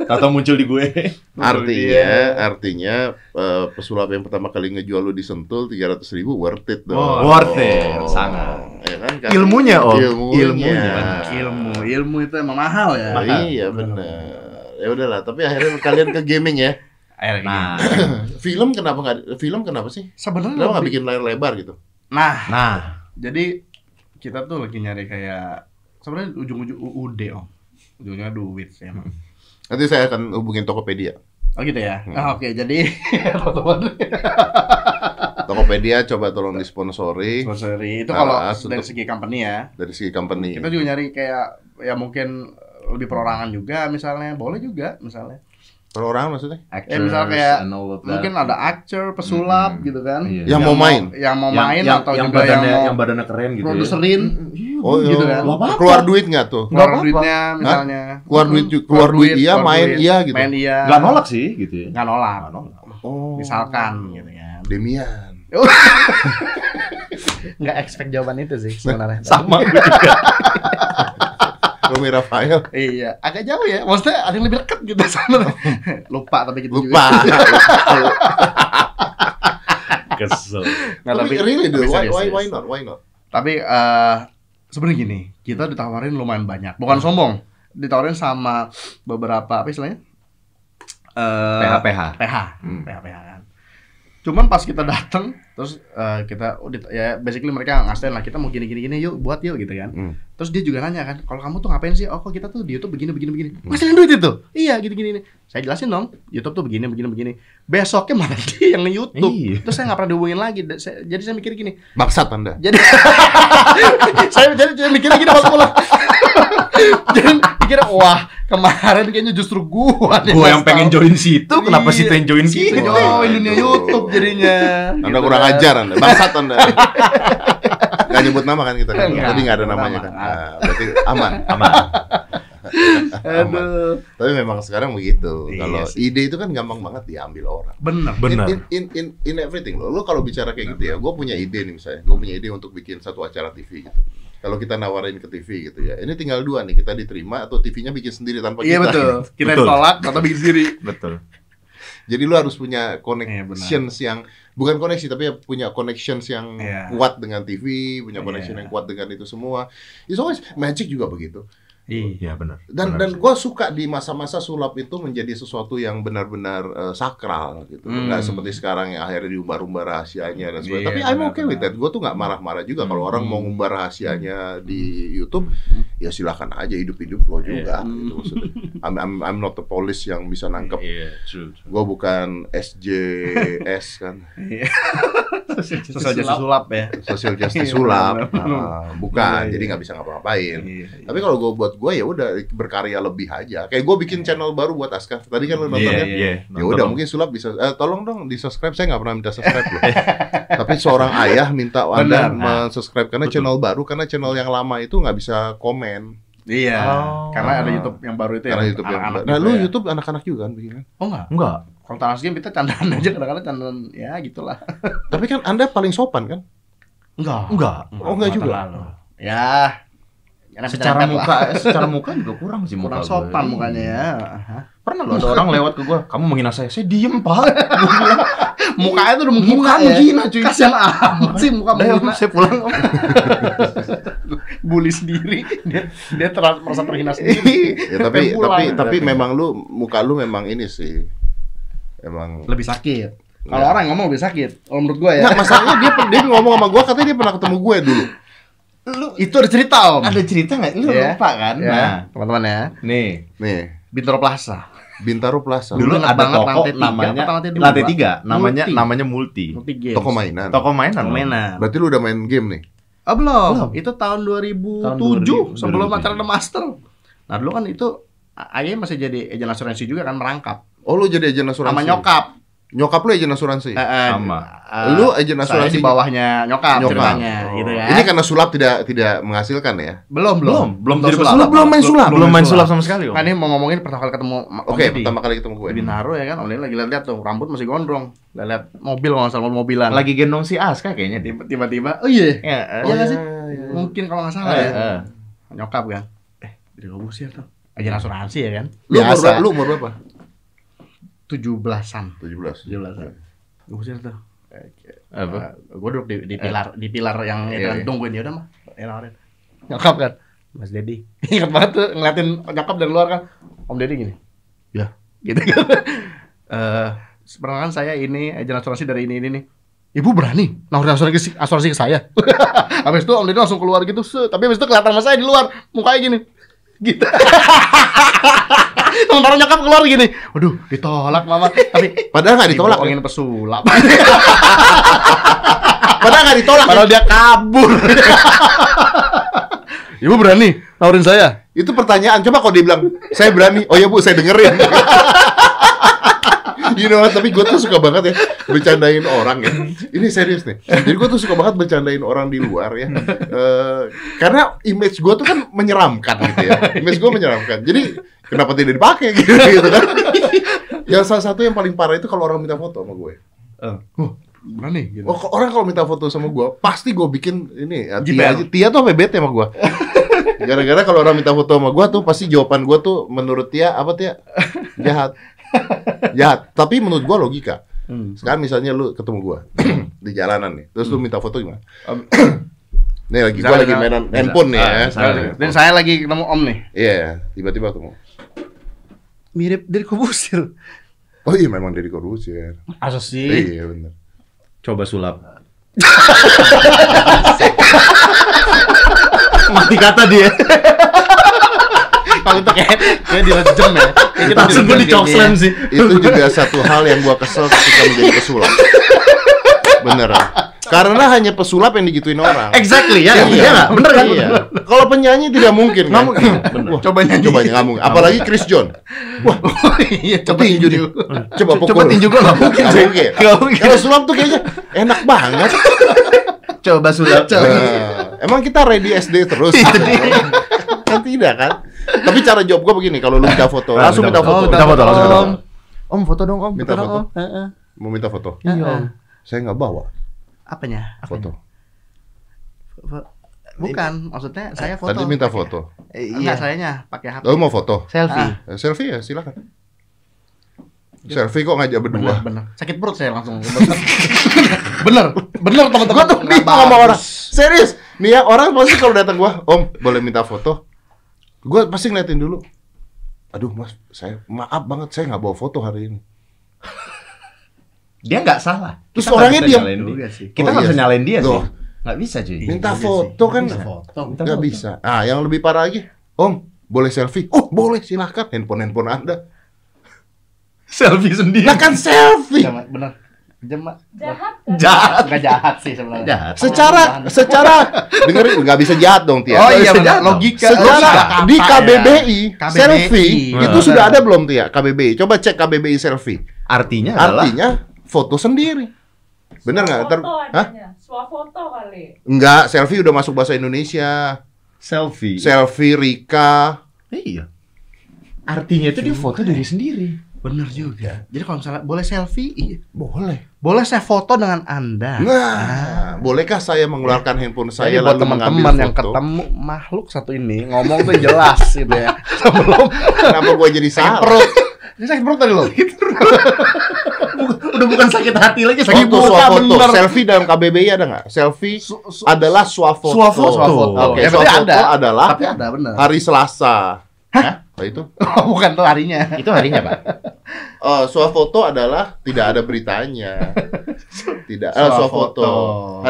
Atau muncul di gue. Iya. Artinya, artinya eh, pesulap yang pertama kali ngejual lu di Sentul 300 ribu worth it dong. Oh, worth it, sangat. Ya kan, kan? Ilmunya, Om. Ilmunya. Ilmunya. Ilmu, ilmu itu emang mahal ya. Nah, iya benar. Ya udahlah, tapi akhirnya kalian ke gaming ya. Nah, Film kenapa nggak? Film kenapa sih? Sebenarnya Kenapa nggak lebih- bikin layar lebar gitu? Nah, nah. jadi kita tuh lagi nyari kayak sebenarnya ujung-ujung UUD om ujungnya duit sih emang Nanti saya akan hubungin Tokopedia. oh gitu ya Ah, oke jadi teman-teman Tokopedia coba tolong disponsori Sorry, itu kalau Nah, Iya. dari untuk- segi company ya dari segi company. kita juga nyari kayak ya mungkin lebih perorangan juga misalnya boleh juga misalnya Perorangan maksudnya? ya misal Actors kayak and all of that. mungkin ada actor pesulap Mm-mm. gitu kan Iya. Yang mau main? yang mau main yang, atau yang juga yang badannya, mau yang badannya keren gitu ya. produserin Oh, Gitu kan. iya. Nggak apa-apa. keluar duit nggak tuh? keluar apa-apa. duitnya misalnya Hmm. Keluar duit ju- keluar duit iya, keluar main duit, iya gitu. main iya Nggak nolak sih gitu ya. nggak nolak Nggak nolak. Oh. misalkan gitu kan Demian. nggak expect jawaban itu sih sebenarnya Sama gue juga. Romi Rafael. iya agak jauh ya maksudnya ada yang lebih dekat gitu sebenarnya lupa tapi gitu Lupa. Kesel. nah, tapi, tapi, really tapi dude, why, serius, why, why serius. not? Why not? tapi eh, sebenarnya gini kita ditawarin lumayan banyak bukan sombong ditawarin sama beberapa apa istilahnya Eh, PH-PH. PH Hmm. PH PH kan cuman pas kita datang terus eh, kita oh, dit- ya basically mereka ngasain lah kita mau gini gini gini yuk buat yuk gitu kan Hmm. terus dia juga nanya kan kalau kamu tuh ngapain sih oh kok kita tuh di YouTube begini begini begini ngasihin duit itu iya gini gini ini saya jelasin dong YouTube tuh begini begini begini besoknya malah dia yang nge YouTube Iya. terus saya nggak pernah dihubungin lagi Da- saya- jadi saya mikir gini Bangsat Anda. jadi saya jadi jadi mikirnya gini pas pulang jadi mikir wah kemarin kayaknya justru gua nih Gue pas yang pengen tahu. join situ, kenapa Iya, situ yang join gitu? situ sini? yang Wah, join dunia aduh. YouTube jadinya Anda Gitu kurang kan. ajar Anda. Bangsat Anda. Gak nyebut nama kan kita kan? Enggak. Tadi gak ada Nama, namanya kan? nama. Nah, berarti aman. Aman. aman. aduh Tapi memang sekarang begitu. Iya Kalau sih. ide itu kan gampang banget diambil orang. bener Benar. In, in, in, in everything loh. Lo kalau bicara kayak gitu ya, gue punya ide nih misalnya. Gue punya ide untuk bikin satu acara TV gitu. Kalau kita nawarin ke TV gitu ya. Ini tinggal dua nih, kita diterima atau TV-nya bikin sendiri tanpa iya kita. betul kita Betul. ditolak atau bikin sendiri Betul. Jadi lu harus punya Iya, connections yang bukan koneksi tapi ya punya connections yang Iya. kuat dengan TV, punya connection Iya. yang kuat dengan itu semua. It's always magic juga begitu. Iya. Iya benar. dan Benar dan sih. gue suka di masa-masa sulap itu menjadi sesuatu yang benar-benar eh, sakral gitu Hmm. nggak seperti sekarang yang akhirnya diumbar-umbar rahasianya dan Iya, sebagainya tapi I'm benar, okay with benar. that gue tuh nggak marah-marah juga kalau orang Hmm. mau ngumbar rahasianya di YouTube ya silahkan aja hidup-hidup lo juga Iya. gitu maksudnya I'm, I'm, I'm not the police yang bisa nangkep Iya, true. true. gue bukan SJS kan Sosial justice sulap ya. social justice Iya, benar, sulap benar. Ah, bukan Iya, jadi iya. nggak bisa ngapa-ngapain Iya. Tapi kalau gue buat gue ya udah berkarya lebih aja. Kayak gue Iya. bikin channel baru buat Aska. Tadi kan lo Iya, nontonnya. iya. Ya udah mungkin sulap bisa eh, tolong dong di subscribe saya nggak pernah minta subscribe loh. Tapi seorang ayah minta anda Benar. Nah. subscribe karena channel baru karena channel yang lama itu nggak bisa komen Iya. Oh. Karena ada YouTube yang baru itu karena yang YouTube yang Iya, anak-anak nah juga lu ya. YouTube anak-anak juga kan bikin kan? Oh enggak. Enggak. Kalau Thanos Game kita candaan aja kadang-kadang candaan ya gitulah. Tapi kan anda paling sopan kan? Enggak. Enggak. Oh, enggak juga. terlalu. Ya. nyerempet-nyerempet Secara lah. muka secara muka juga kurang sih muka kurang gue. sopan mukanya ya. Hah? Pernah lo ada orang lewat ke gua, kamu menghina saya. Saya diem, Pak. Mukanya tuh udah menghina. Muka ya. menghina, cuy. Kasian amat sih muka Udah, Om, menghina. saya pulang. Om. Bully sendiri. Dia dia terasa merasa terhina sendiri. ya tapi Pulang. tapi tapi memang lu muka lu memang ini sih emang Lebih sakit. Kalau Enggak. orang yang ngomong lebih sakit. Kalau menurut gua ya. Nggak, masalahnya dia dia ngomong sama gue katanya dia pernah ketemu gue dulu. itu ada cerita om. Ada cerita nggak? Lu Iya. lupa kan? Ya, Nah, teman-teman ya. nih. Nih Bintaro Plaza. Bintaro Plaza. Dulu ada ingat banget toko lantai tiga namanya apa lantai dua? lantai tiga, namanya Multi. namanya Multi. Multi Games. Toko mainan. Toko mainan. Om. Mainan. Berarti lu udah main game nih. Oh belum. Belum. Itu tahun 2007 Tahun 2000, sebelum 2007. acara The Master. Nah dulu kan itu ayah masih jadi agen asuransi juga kan merangkap Oh lu jadi agen asuransi. sama nyokap. Nyokap lu agen asuransi. Eh, eh, Sama. eh, Lu agen saya di asuransi bawahnya nyokap, Nyokap. ceritanya Oh. gitu ya. Ini karena sulap tidak tidak menghasilkan ya. belum Belum, belum Belum jadi sulap. pesulap. Lu belum main sulap? belum main sulap sama sekali. Om. Kan ini mau ngomongin pertama kali ketemu Ma- Om Oke, Deddy. pertama kali ketemu gue. di Bintaro ya kan, Om Deddy lagi lihat-lihat tuh rambut masih gondrong. Lihat mobil kalau nggak salah mobilan. Lagi gendong si Aska kayaknya dia. Tiba- tiba-tiba, oh iya. Ya, eh. Iya nggak sih? iya. Mungkin kalau nggak salah Eh, ya. eh. Nyokap kan. Eh, dari Kobusier tuh. Agen asuransi ya kan. Lu umur, Biasa. berapa? lu umur berapa? 17-an. 17. 17-an. Kobusier tuh. Eh, Apa? gue duduk di, di pilar di pilar yang Eh. Iya, itu kan iya. tungguin ya udah mah enawarin nyokap kan Mas Dedi ingat banget tuh ngeliatin nyokap dari luar kan Om Dedi gini ya gitu kan Eh, sebenarnya kan saya ini agen asuransi dari ini ini nih Ibu berani nawarin asuransi, asuransi ke saya. habis itu Om Dedi langsung keluar gitu. set. Tapi habis itu kelihatan sama saya di luar, mukanya gini. Gitu. Sementara nyokap keluar gini. Waduh, ditolak mama. Tapi Padahal nggak ditolak. ya? Dibohongin pesulap. Padahal nggak ditolak. ya? Padahal dia kabur. Ibu berani nawarin saya? Itu pertanyaan. Coba kalau dia bilang, saya berani. Oh ya bu, saya dengerin. You know what? tapi gue tuh suka banget ya bercandain orang ya. Ini serius nih. Jadi gue tuh suka banget bercandain orang di luar ya. Eh, karena image gue tuh kan menyeramkan gitu ya. Image gue menyeramkan. Jadi kenapa tidak dipakai gitu, gitu kan? Yang salah satu yang paling parah itu kalau orang minta foto sama gue. Oh. Berani gitu. Oh, kalau- orang kalau minta foto sama gue, pasti gue bikin ini ya, Tia, Jipel. aja. Tia tuh apa bete sama gue. Gara-gara kalau orang minta foto sama gue tuh pasti jawaban gue tuh menurut Tia apa Tia jahat, jahat. Tapi menurut gue logika. Sekarang misalnya lu ketemu gue di jalanan nih, terus lu minta foto gimana? nih lagi gue Misalnya- lagi mainan handphone nih Ah, ya. misalnya. Iya, Dan saya lagi ketemu Om nih. tiba-tiba ketemu. Mirip dari Kubusir. Oh iya memang dari Corbusier. Asa sih. Iya benar. Coba sulap. Mati kata dia. Kalau itu kayak kayak direjam ya. Kayak kita Langsung gue direjam dicokslam kayaknya. sih. Itu juga satu hal yang gua kesel ketika menjadi pesulap. Beneran. Karena hanya pesulap yang digituin orang. Exactly ya. Iya, Iya nggak? Bener kan? Iya. Kalau penyanyi tidak mungkin kan? Wah, Coba nyanyi. Coba nggak mungkin. Apalagi Chris John. Wah, Iya, coba tinju tinju. nih. Coba pukul. Coba tinju gue nggak mungkin Nggak sih. mungkin. Nggak mungkin. Kalau sulap tuh kayaknya enak banget. Coba Iya. sulap. Nah, emang kita ready SD terus? Iya. kan tidak kan? Tapi cara jawab gue begini, kalau lu minta foto, Ah, langsung minta foto. Minta foto langsung. Om, Om. Om foto dong om. Minta foto dong, foto. Om. Eh, eh. Mau minta foto? Iya om. Saya nggak bawa Apanya? foto. Bukan, maksudnya saya foto. Eh, Tadi minta Oh. foto. Eh, Iya. Enggak, sayanya pakai HP. Lu mau foto? Selfie. Eh, Selfie ya, silakan. Selfie kok ngajak Bener, berdua? bener. Sakit perut saya langsung. bener, bener teman-teman. Gue tuh Nggak bingung sama bagus. orang. Serius, nih ya orang pasti kalau datang gua, Om boleh minta foto? Gue pasti ngeliatin dulu. Aduh mas, saya maaf banget saya nggak bawa foto hari ini. Dia nggak salah. Terus Kita nggak orangnya bisa diam. nyalain dia. Juga sih. Kita Oh, nggak iya bisa sih. nyalain dia sih. Tuh. Nggak bisa cuy. Iya Minta juga sih. foto kan Bisa foto. Minta nggak foto. bisa. Ah yang lebih parah lagi, Om boleh selfie? Oh boleh silahkan handphone handphone anda. Selfie sendiri. Nah kan selfie. Jangan, bener. Jema, Jahat kan? Jahat. nggak jahat sih sebenarnya. Jahat. Secara secara dengerin nggak bisa jahat dong Tia. Oh, iya, benar. benar. logika. Secara di kata ya. KBBI, KBBI. selfie itu Betul. sudah ada belum Tia? KBBI. Coba cek KBBI selfie. Artinya adalah Artinya foto sendiri. Bener nggak? Ter- Foto Hah? adanya. Swafoto kali. Enggak, selfie udah masuk bahasa Indonesia. Iya. selfie. Selfie Rika. Iya. Artinya Hmm. itu dia foto diri sendiri. Bener juga. Iya. Jadi kalau misalnya boleh selfie, iya. Boleh. boleh saya foto dengan anda. Nah, bolehkah saya mengeluarkan handphone Jadi saya Iya. buat lalu teman-teman mengambil yang foto? ketemu makhluk satu ini ngomong tuh jelas gitu ya. Sebelum Kenapa gua jadi sakit salah? perut. Ini sakit perut tadi lo. Udah bukan sakit hati lagi, sakit Foto, perut. swafoto. bener. Selfie dalam KBBI ada nggak? Selfie Su- su- adalah swafoto. Swafoto. Oke, Ya, berarti swafoto ada. adalah Tapi ada bener. hari Selasa. Hah? Apa itu? oh, Bukan tuh harinya. Itu harinya, Pak. Eh, swafoto adalah tidak ada beritanya. Tidak. Eh, Swafoto. swafoto.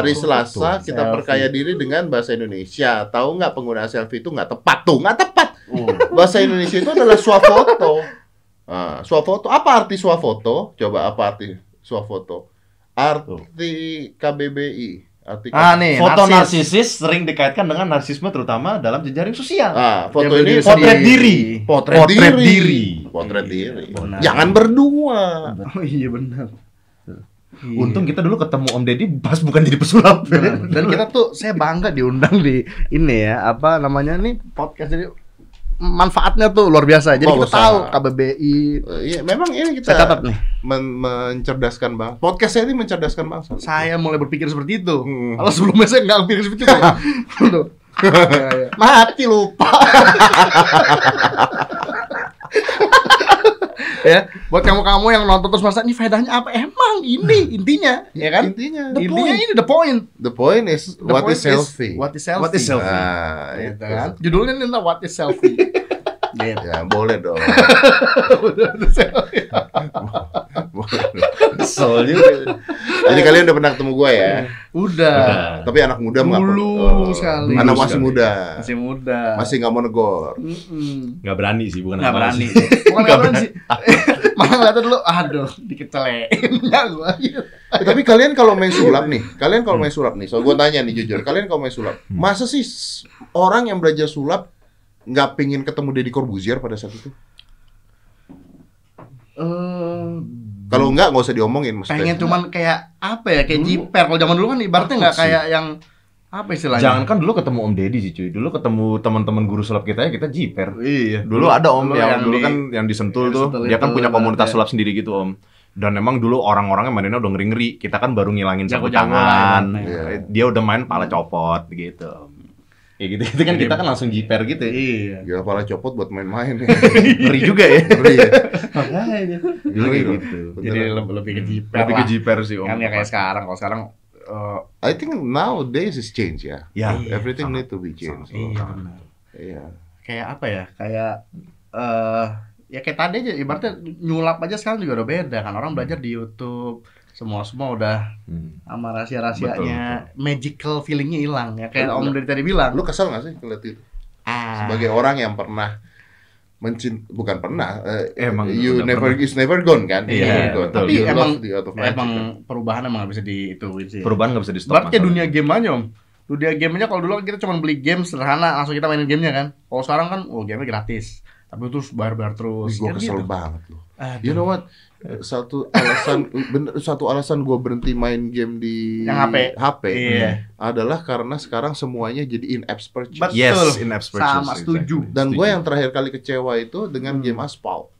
Hari Selasa Swafoto. kita Selfie. perkaya diri dengan bahasa Indonesia. Tahu nggak penggunaan selfie itu nggak tepat tuh, nggak tepat. Oh. Bahasa Indonesia itu adalah swafoto. Ah, swafoto. Apa arti swafoto? Coba apa arti swafoto? Arti KBBI. Arti Ah nih, Foto narsis. narsisis sering dikaitkan dengan narsisme terutama dalam jejaring sosial. Ah, foto Dia ini berdiri Potret sendiri. Iya, diri. potret, Potret diri. diri. Potret diri. Benar. Jangan berdua. Oh iya bener. Iya. Untung gitu kan. kita dulu ketemu Om Deddy pas bukan jadi pesulap. Bener, bener. Dan kita tuh saya bangga diundang di ini ya apa namanya nih podcast jadi manfaatnya tuh luar biasa. Jadi Oh, kita usaha. tahu KBBI. Eh, Iya, memang ini kita Saya catat nih. men- mencerdaskan bangsa. Podcast saya ini mencerdaskan bangsa. Saya mulai berpikir seperti itu. Hmm. Kalau sebelumnya saya nggak berpikir seperti itu. Aduh. Ya, ya. Mati lupa. ya, buat kamu-kamu yang nonton terus masa ini faedahnya apa? Emang ini intinya, ya kan? Intinya, Intinya ini the point. the point is The what point is selfie. What is selfie? What is selfie? Nah, Gitu itu. kan? Judulnya ini adalah what is selfie. Gitu. Ya, boleh dong. Boleh dong. Kesel juga. Jadi kalian udah pernah ketemu gua ya. Udah. Nah. Tapi anak muda mah nggak Iya. Dulu perlu. Oh, sekali. Anak Dulu masih sekali. muda. Masih muda. Masih nggak mau negor. Mm-mm. Nggak berani sih, bukan Nggak apa-apa berani. sih. Bukan nggak Nggak berani sih. Malah ngeliatnya dulu, aduh, dikecelein ya gua. gitu. Eh, tapi kalian kalau main sulap nih, Hmm. kalian kalau main sulap nih, so gue tanya nih jujur, kalian kalau main sulap, masa sih s- orang yang belajar sulap nggak pingin ketemu Deddy Corbuzier pada saat itu? Kalau nggak nggak usah diomongin maksudnya. pengen cuman kayak apa ya kayak jiper kalau zaman dulu kan ibaratnya nggak Takut sih. kayak yang apa istilahnya Jangan kan dulu ketemu Om Deddy sih cuy. Dulu ketemu teman-teman guru sulap kita ya kita jiper. iya Dulu ada Om Dulu yang, yang dulu di- kan yang disentul yang tuh. disentul Dia kan itu, punya komunitas ibaratnya. sulap sendiri gitu Om. Dan emang dulu orang-orangnya mainnya udah ngeri-ngeri. Kita kan baru ngilangin sapu Jago-jago tangan. Iya, lah, Iya. ya. Dia udah main pala copot gitu. Ya gitu, itu kan kita kan langsung jiper gitu ya. iya Gila pala copot buat main-main ya. Ngeri juga ya. Ngeri ya. Dulu kayak gitu. jadi lebih lebih ke jiper Tapi ke lah. jiper sih Om. kan ya kayak sekarang kalau sekarang eh, I think nowadays is change ya. Ya. Everything Sangat. need to be changed. iya benar Iya. kayak apa ya kayak eh ya kayak tadi aja ibaratnya nyulap aja sekarang juga udah beda kan orang belajar di YouTube semua semua udah Hmm. sama rahasia rahasianya magical feelingnya hilang ya kayak om dari tadi bilang Lu kesel nggak sih ngeliat itu? ah, Sebagai orang yang pernah mencint bukan pernah eh, Emang you udah never pernah. is never gone kan Iya, Never gone. betul. You Tapi emang- lost the art of magic, emang kan? perubahan emang nggak bisa diituin sih Perubahan nggak bisa di stop. Ibarat kayak masalahnya. ya dunia game aja om Dunia gamenya kalau dulu kan kita cuma beli game sederhana Langsung kita mainin gamenya kan Kalau sekarang kan, oh gamenya gratis Tapi terus bayar-bayar terus gue Kan kesel gitu. banget loh. Aduh. You know what? Satu alasan bener, satu alasan gue berhenti main game di Yang HP. Iya. adalah karena sekarang semuanya jadi in app purchase. But- Yes, Betul. in apps purchase. Sama, setuju. Hmm. Dan gue yang terakhir kali kecewa itu dengan game Asphalt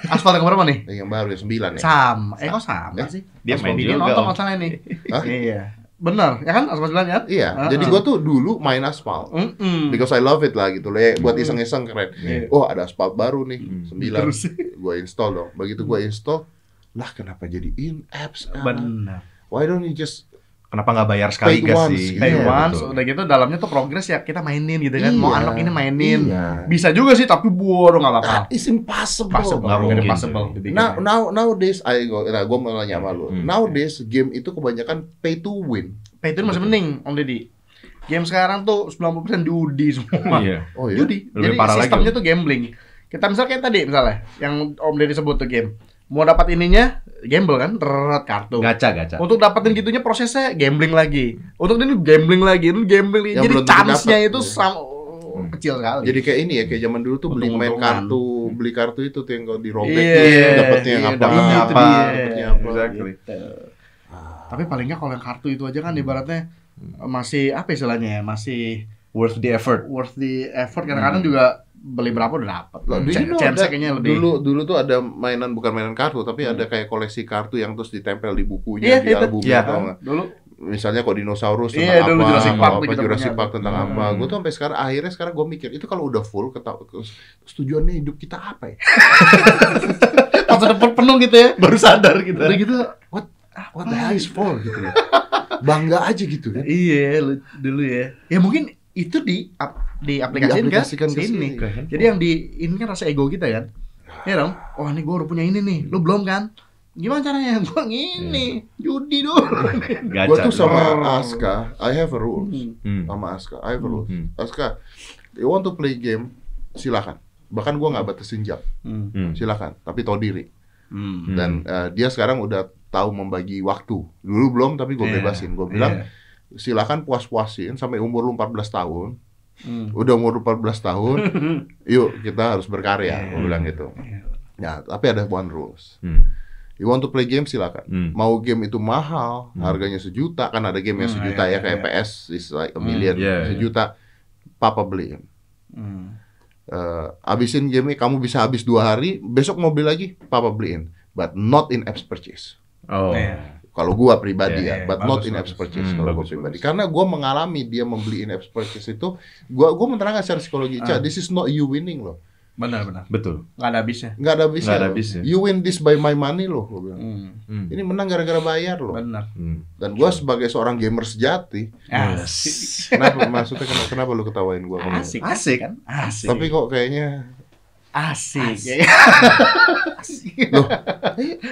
Aspal yang berapa nih? Eh, yang baru yang sembilan ya. Sama Eh kok sama Eh, sih? dia Aspal main video juga, nonton Om. kalau salah nih Hah? Iya Bener, ya kan? Aspal 9 kan? Iya, Ah, jadi ah. gue tuh dulu main Asphalt Mm-mm. because I love it lah gitu loh. ya, Buat iseng-iseng keren. Iya. Oh ada Asphalt baru nih Hmm. sembilan. Hmm. Terus. Hmm. Gue install dong. Begitu gue install, lah kenapa jadi in apps? Bener Why don't you just Kenapa nggak bayar sekaligus once, sih? pay Iya, Taiwan betul. udah gitu dalamnya tuh progres ya kita mainin gitu kan mau Iya. unlock ini mainin Iya. bisa juga sih tapi buar nggak apa-apa Ah, it's impossible. possible nggak mungkin. impossible Now, now, nowadays, I go, nah, gue mau nanya sama lu. Hmm. Nowadays, game itu kebanyakan pay to win. pay itu masih mending Om Deddy game sekarang tuh 90% judi semua Iya. Oh judi Lebih jadi parah lagi, sistemnya tuh gambling kita misal kayak tadi misalnya yang Om Deddy sebut tuh game mau dapat ininya gamble kan Rrrt, kartu Gacha, gacha. untuk dapetin gitunya prosesnya gambling lagi untuk ini gambling lagi ini gambling lagi Yang jadi belum tentu chance-nya dapet. itu sam- Hmm. kecil sekali Jadi kayak ini ya, kayak zaman dulu tuh beli main Untung-untungan. kartu, beli kartu itu tuh yang kalau dirobek Iya, tuh dapetnya iya, dapetnya apa, gitu apa, dia, dapetnya apa. gitu. Exactly. Tapi palingnya kalau yang kartu itu aja kan ibaratnya Hmm. eh, masih apa istilahnya ya? Masih Worth the effort. worth the effort Hmm. kadang-kadang juga beli berapa udah dapat. Lah, do you know Chance that Hmm, kayaknya lebih. Hmm. Dulu dulu tuh ada mainan bukan mainan kartu tapi ada kayak koleksi kartu yang terus ditempel di Iya, bukunya itu. di albumnya Iya. atau Kan? nggak. dulu Misalnya kok dinosaurus tentang Iya, apa, dulu Jurassic kalau Park tuh apa kita Jurassic punya. Park tentang Hmm. apa. Gue tuh sampai sekarang akhirnya sekarang gue mikir itu kalau udah full ketahu terus tujuannya hidup kita apa ya? masa depan penuh gitu ya. Baru sadar gitu. Udah gitu. What what the hell is full gitu loh. Bangga aja gitu kan. Iya, lu- dulu ya. Ya mungkin itu di ap, di aplikasiin kan Diaplikasikan ke sini. sini. Jadi ya, yang di ini kan rasa ego kita kan. Ya dong. Oh, ini gua udah punya ini nih. Lu belum kan? Gimana caranya? Gua ngini, judi dulu. Gacha. Gue tuh sama Aska, I have a rules. Hmm. sama Aska. I have a rule. Hmm. Aska, you want to play game, silakan. Bahkan gua nggak batasin jam, Hmm. Hmm. silakan. Tapi tau diri. Hmm. Hmm. Dan eh, dia sekarang udah tahu membagi waktu. Dulu belum, tapi gue Iya, bebasin. Gue bilang Iya. silakan puas-puasin sampai umur lu 14 tahun. Hmm. Udah umur 14 tahun, yuk kita harus berkarya. Hmm. Gue bilang gitu. Ya, tapi ada one rules. Hmm. You want to play game silakan. Hmm. Mau game itu mahal, harganya sejuta kan ada game yang Hmm, sejuta iya, ya kayak iya. PS is like a million, iya, iya. sejuta. Papa beliin. Hmm. Eh, abisin game kamu bisa habis dua hari, besok mau beli lagi, papa beliin. But not in apps purchase. Oh. Iya. Kalau gua pribadi Iya, iya, ya, bagus, but not in bagus. apps purchase Hmm, kalau gua bagus, pribadi. Karena gua mengalami dia membeli in apps purchase itu, gua gua menerangkan secara psikologi, Ah. Cak, this is not you winning loh. Benar benar. Betul. Enggak ada habisnya. Nggak ada habisnya. Nggak ada loh. habisnya. You win this by my money loh, gua bilang. Hmm. Hmm. Ini menang gara-gara bayar loh. Benar. Hmm. Dan gua sebagai seorang gamer sejati, Ah, Asik. kenapa maksudnya kenapa, kenapa lu ketawain gua? Kamu? Asik. Asik kan? Asik. Tapi kok kayaknya asik. asik.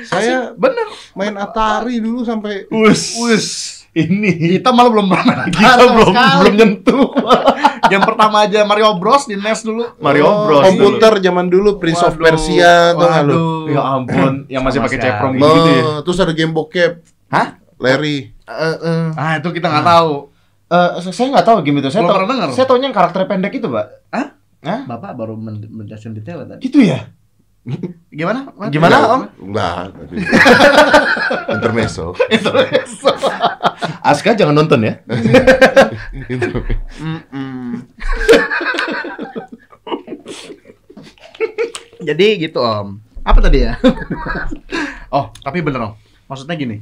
saya Benar. main Atari dulu sampai Us. Ini Kita malah belum pernah. kita belum belum nyentuh Yang pertama aja Mario Bros di NES dulu. Mario Oh, Bros. komputer zaman dulu Prince of Waduh, Persia tuh nggak lu? waduh. dulu. Ya ampun, yang masih Sama pakai sekali. ceprong Be- gitu ya. terus ada game bokep. Hah? Larry. Ah, itu kita nggak tahu. Eh, saya nggak tahu game itu. Saya Belum tahu. pernah denger. Saya taunya yang karakter pendek itu, Pak. Bapak baru men- menjelaskan detail tadi. Gitu ya? Gimana? Mas? Gimana, ya. Om? Enggak, tapi intermezzo. Aska jangan nonton ya. Itu. Mm-mm. Jadi gitu om. Apa tadi ya? oh tapi bener om. Maksudnya gini.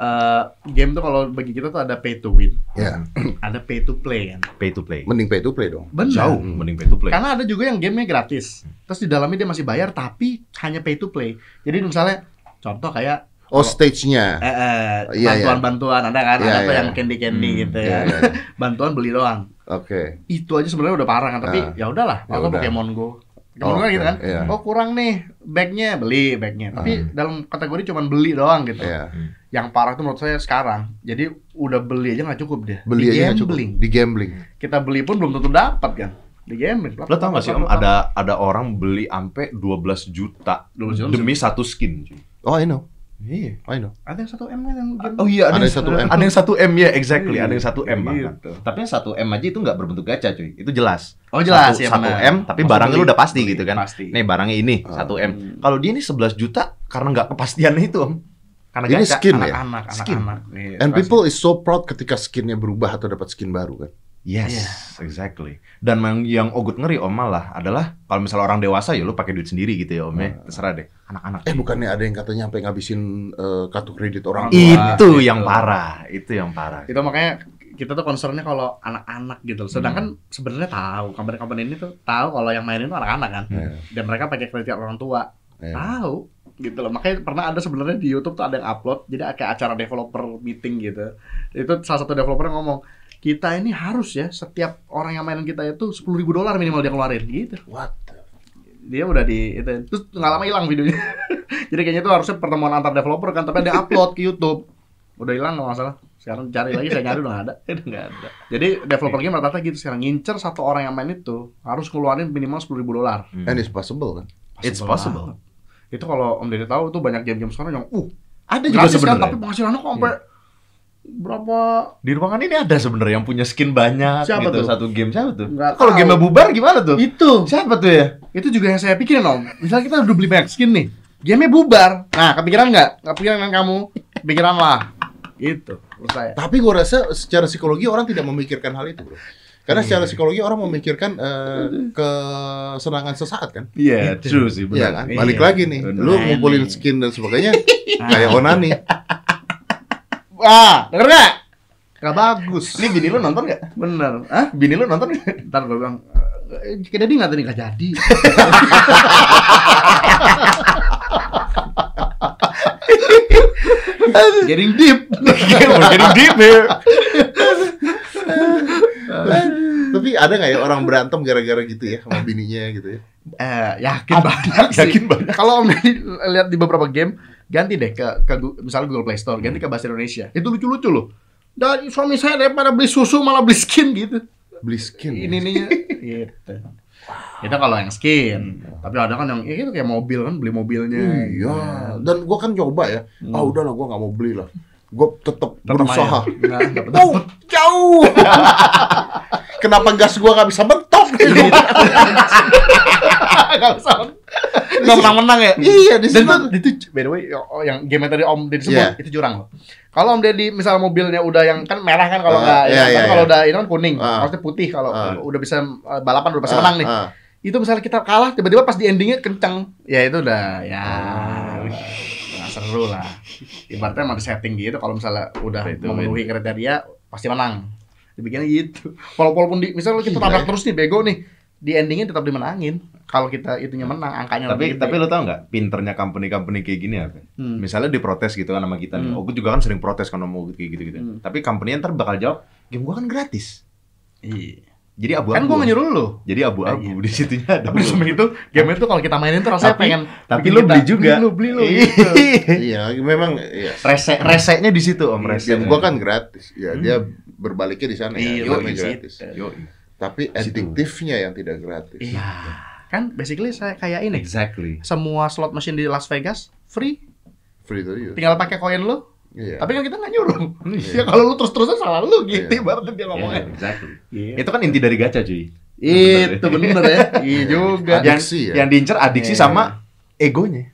eh, game tuh kalau bagi kita tuh ada pay to win, Ya, ada pay to play kan. Pay to play. mending pay to play dong. Bener. Jauh Hmm. mending pay to play. Karena ada juga yang gamenya gratis. Terus di dalamnya dia masih bayar tapi hanya pay to play. Jadi misalnya contoh kayak Oh, stage-nya. eh, eh, Iya, iya. bantuan-bantuan ada kan Iya, ada tuh iya. yang candy-candy Hmm, gitu Iya, ya. iya. Bantuan beli doang. Oke. itu aja sebenarnya udah parah kan tapi Ah. ya udahlah Ya atau udah. Pokemon Go Pokemon Oh, Go kan gitu kan iya. Hmm. oh kurang nih bagnya beli bagnya tapi dalam kategori cuman beli doang gitu Iya. yang parah tuh menurut saya sekarang jadi udah beli aja nggak cukup deh Beli di aja nggak cukup. gambling Di gambling. kita beli pun belum tentu dapat kan di gambling Lo tau gak sih om, ada ada orang beli ampe 12 juta 12 juta. demi satu skin. cuy. Oh, I know. Iya. I know. ada yang satu m kan yang game Oh iya, Ada ada, yang satu M. Ada yang satu M ya, exactly. Ada yang satu M bahkan. Gitu. Tapi yang satu M aja itu nggak berbentuk gacha cuy. Itu jelas. Oh, jelas, satu, ya, satu benar. M, tapi Maksud barangnya beli. lu udah pasti Beli, gitu kan. pasti. Nih barangnya ini Ah. satu M. Kalau dia ini 11 juta karena nggak kepastiannya itu om. Karena Ini gacha. skin ya. anak-anak anak-anak Iya, And pasti. people is so proud ketika skinnya berubah atau dapat skin baru kan. Yes, Iya. exactly. Dan yang, yang ogut ngeri om malah adalah kalau misalnya orang dewasa ya lu pakai duit sendiri gitu ya om Ah. ya. Terserah deh. Anak-anak. Eh bukannya ada yang katanya sampai ngabisin eh, kartu kredit orang Iya. tua. itu Wah, yang itu. parah, itu yang parah. itu makanya kita tuh concernnya kalau anak-anak gitu loh. Sedangkan sebenarnya tahu company-company ini tuh tahu kalau yang mainin tuh anak-anak kan. Iya. Dan mereka pakai kredit orang tua. Iya. Tahu. gitu loh makanya pernah ada sebenarnya di YouTube tuh ada yang upload jadi kayak acara developer meeting gitu itu salah satu developer yang ngomong kita ini harus ya setiap orang yang mainin kita itu sepuluh ribu dolar minimal dia keluarin gitu What? dia udah di itu terus nggak lama hilang videonya jadi kayaknya itu harusnya pertemuan antar developer kan tapi ada upload ke YouTube udah hilang kalau nggak salah sekarang cari lagi saya nyari udah nggak ada Aduh, nggak ada. jadi developer game rata-rata gitu sekarang ngincer satu orang yang main itu harus keluarin minimal sepuluh ribu dolar And it's possible kan? It's Possible possible. lah. itu kalau om deddy tahu tuh banyak game-game sekarang yang uh Ada juga gratis kan sebenarnya. tapi penghasilannya kok sampai berapa Di ruangan ini ada sebenarnya yang punya skin banyak Siapa gitu tuh? satu game siapa tuh? nggak Kalau tahu. game bubar gimana tuh? itu Siapa tuh ya? itu juga yang saya pikirin om misalnya kita udah beli banyak skin nih gamenya bubar nah kepikiran nggak kepikiran kan kamu pikiran lah gitu menurut saya Tapi gua rasa secara psikologi orang tidak memikirkan hal itu, bro. Iya. Karena secara psikologi orang memikirkan eh, kesenangan sesaat kan? Iya, Gitu. true sih benar. Iya kan? Balik lagi nih, Nah, lu iya. ngumpulin skin dan sebagainya kayak onani. ah denger nggak nggak bagus Ini bini lu nonton gak? bener ah Bini lu nonton gak? ntar gue bilang "Eh, ke jadi nggak tadi nggak jadi Getting deep Mungkin deep ya. Tapi ada nggak ya orang berantem gara-gara gitu ya sama bininya gitu ya? Eh, yakin banyak sih. Yakin banyak. Kalau om Deddy lihat di beberapa game, ganti deh ke, ke Gu- misalnya Google Play Store, ganti ke Hmm. bahasa Indonesia. Itu lucu-lucu loh. Dan suami saya daripada beli susu malah beli skin gitu. Beli skin. Ini nih gitu. Itu kalau yang skin. Tapi ada kan yang ya itu kayak mobil kan beli mobilnya. Iya. Dan gua kan coba ya. Ah udahlah gua nggak mau beli lah. Gua tetap berusaha. Nah, dapet- Oh, jauh. Kenapa gas gua nggak bisa mentok? Iya. Nggak usah. Nggak menang-menang ya. Iya, di Dan situ. itu, itu by the way yo- oh, yang game yang tadi Om Deddy sebut Iya. itu jurang loh. Kalau Om Deddy misal mobilnya udah yang kan merah kan kalau Ah, nggak, iya, ya kan iya, kalau iya. udah ini kan kuning, Ah. maksudnya putih kalau Ah. udah bisa eh, balapan udah pasti Ah, menang nih. ah. Itu misalnya kita kalah tiba-tiba pas di endingnya kencang, ya itu udah ya nggak seru lah. Ibaratnya emang di setting gitu kalau misalnya udah Betul, memenuhi kriteria pasti menang. Dibikinnya gitu. Walau- Walaupun di misalnya kita Gila, tabrak ya. terus nih bego nih, di endingnya tetap dimenangin. Kalau kita itunya menang angkanya Tapi lebih gede. tapi lu tau nggak pinternya company-company kayak gini apa? Hmm. Misalnya diprotes gitu kan sama kita nih. Hmm. Oh, gue juga kan sering protes kan mau kayak gitu-gitu. Hmm. Tapi company ntar bakal jawab, game gua kan gratis. Iya. Jadi abu-abu. Kan gue nyuruh lu. Jadi abu-abu di situnya ada. Tapi di samping itu game itu kalau kita mainin tuh rasanya Tapi- pengen tapi bikin lu kita, beli juga." Beli lu, beli lu. gitu. Iya, memang iya. Rese reseknya di situ Iya, Om, rese. Game gua kan gratis. Ya, dia berbaliknya di sana ya. Hmm. Iya, Dia yoi, memang sih. gratis. Yo, Tapi adiktifnya yang tidak gratis. Iya. Kan basically saya kayak ini. exactly. Semua slot mesin di Las Vegas free, Free to use. tinggal pakai koin lu. Iya. Tapi kan kita nggak nyuruh. Ya kalau lu terus-terusan salah lu gitu Iya. ibaratnya dia ngomongnya. Yeah, exactly. Iya. Itu kan inti dari gacha, cuy. Itu bener ya. Iya juga. Ada- yang, Adiksi ya? yang diincer adiksi Iya. sama egonya.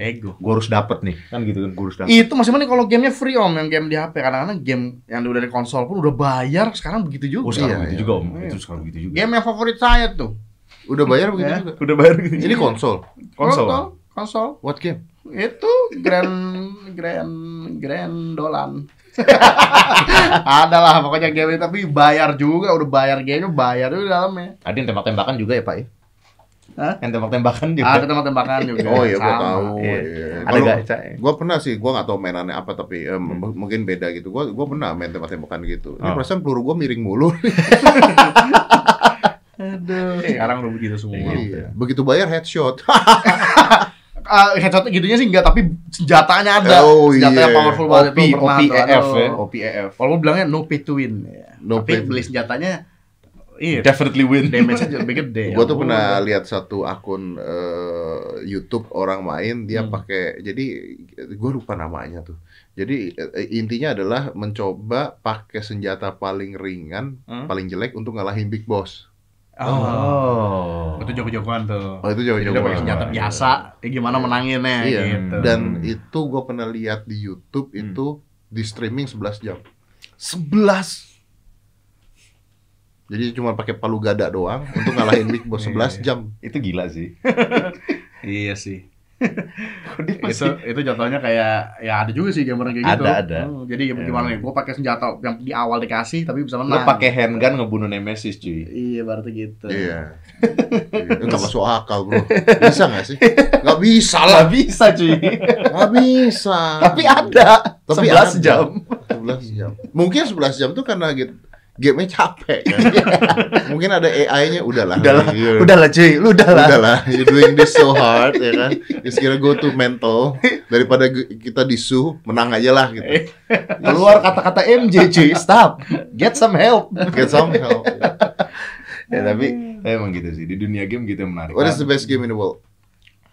Ego. Gue harus dapet nih, kan gitu kan, gue harus dapet. Itu masih mending kalau gamenya free om yang game di HP kadang-kadang game yang udah dari konsol pun udah bayar sekarang begitu Oh, juga. sekarang Iya, gitu iya. juga om, itu sekarang gitu juga. Game yang favorit saya tuh Udah bayar begitu Ya. juga. Udah bayar gitu. Ini konsol. konsol. Konsol. What game? itu grand grand grand dolan adalah pokoknya game itu, tapi bayar juga udah bayar game bayar juga di dalamnya Ada yang tembak-tembakan juga ya pak ya? Hah? Yang tembak-tembakan juga. ada tembak-tembakan juga Oh iya, gua Sama. tahu. Iya. Iya. Ada Kalau- gacha. Gua pernah sih, gua nggak tahu mainannya apa tapi em, m- mungkin beda gitu. Gua gua pernah main tembak-tembakan gitu. Ini Oh. perasaan peluru gua miring mulu. aduh Eh, sekarang udah begitu semua Iya. Begitu bayar headshot. Ah, headshot gitunya sih enggak tapi senjatanya ada Oh, senjatanya iya. powerful banget OP, itu pernah tuh, OPEF aduh. ya, OPEF. walaupun bilangnya no pay to win ya. Iya, No tapi pay to beli win. senjatanya iya Definitely win. damage-nya juga lebih gede Gua tuh Ya pernah lihat satu akun eh, YouTube orang main dia pakai jadi gua lupa namanya tuh. Jadi eh, intinya adalah mencoba pakai senjata paling ringan, Hmm. paling jelek untuk ngalahin big boss. Allah. Oh. itu jago-jagoan tuh Oh itu jauh Jadi dia pakai senjata biasa, ya gimana menanginnya Iya. gitu. Dan itu gua pernah lihat di YouTube Hmm. itu di streaming 11 jam. 11. Jadi cuma pakai palu Iya, gada doang untuk ngalahin big boss 11 jam. Itu gila sih. Iya sih. itu itu contohnya kayak ya ada juga sih gamer yang kayak gitu. Ada, ada. Hmm, jadi Ya. gimana nih? Iya. Gue pakai senjata yang di awal dikasih tapi bisa Lu menang. pakai handgun ngebunuh Nemesis cuy. Iya, berarti gitu. Iya. Iya, Nggak masuk akal bro. Bisa nggak sih? Nggak bisa lah. Salah bisa cuy. Nggak bisa. Tapi ada. 11 Tapi ada. jam. 11 jam. Mungkin 11 jam tuh karena gitu. Game-nya capek kan. Mungkin ada AI-nya udahlah. Udahlah. Iya. Udahlah cuy, lu udahlah. Udahlah, you doing this so hard ya kan. Just gonna go to mental daripada gu- kita disu menang aja lah gitu. Keluar kata-kata MJ cuy, stop. Get some help. Get some help. Ya tapi tapi emang gitu sih di dunia game gitu yang menarik. What is the best game in the world?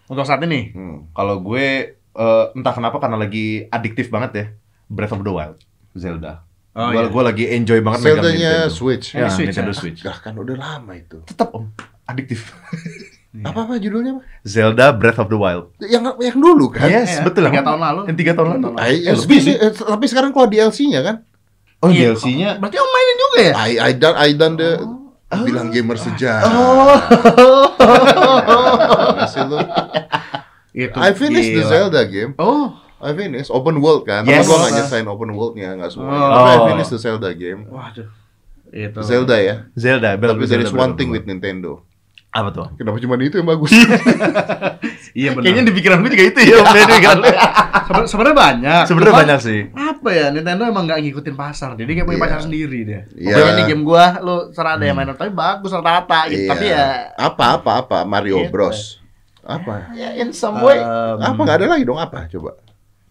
Untuk saat ini. Hmm. Kalau gue eh, entah kenapa karena lagi adiktif banget ya Breath of the Wild, Zelda. Oh, gue, iya. gue lagi enjoy banget megang Zelda-nya Nintendo. Switch. Ya, Di Switch, Nintendo ya? Switch. Gah, kan udah lama itu. Tetap om adiktif. Apa apa judulnya? Pak? Zelda Breath of the Wild. Yang yang dulu kan? Yes, Iya, betul. tiga Om. tahun lalu. Iya, Yang tiga tahun lalu. Ay, Eh, tapi, lebih sih. eh, tapi sekarang keluar DLC-nya kan? Oh, Iya. DLC-nya. Berarti om mainin juga ya? I, I done, I done the Oh. bilang gamer sejarah. Masih lu. Itu. I finished the Gila. Zelda game. Oh, I finished open world kan. Yes. Tapi gua nggak nyesain open worldnya nggak semua. Oh. Tapi I finished the Zelda game. waduh. Gitu. Itu. Zelda ya. Zelda, Breath of Tapi the there Zelda, is Breath one of the thing Wild. with Nintendo. apa tuh? Om? Kenapa cuma itu yang bagus? Iya benar. Kayaknya di pikiran gue juga itu ya, Om. Di pikiran lu. Seben- sebenarnya banyak. Sebenarnya Cuma, banyak sih. Apa ya Nintendo emang nggak ngikutin pasar. Jadi kayak punya Iya. pasar sendiri dia. Oke, Iya. ini game gua lu serah ada yang main tapi bagus rata-rata gitu. Iya. Tapi ya Apa apa apa Mario Gitu. Bros. Apa? Iya. Ya, in some way. um, Apa nggak ada lagi dong apa coba?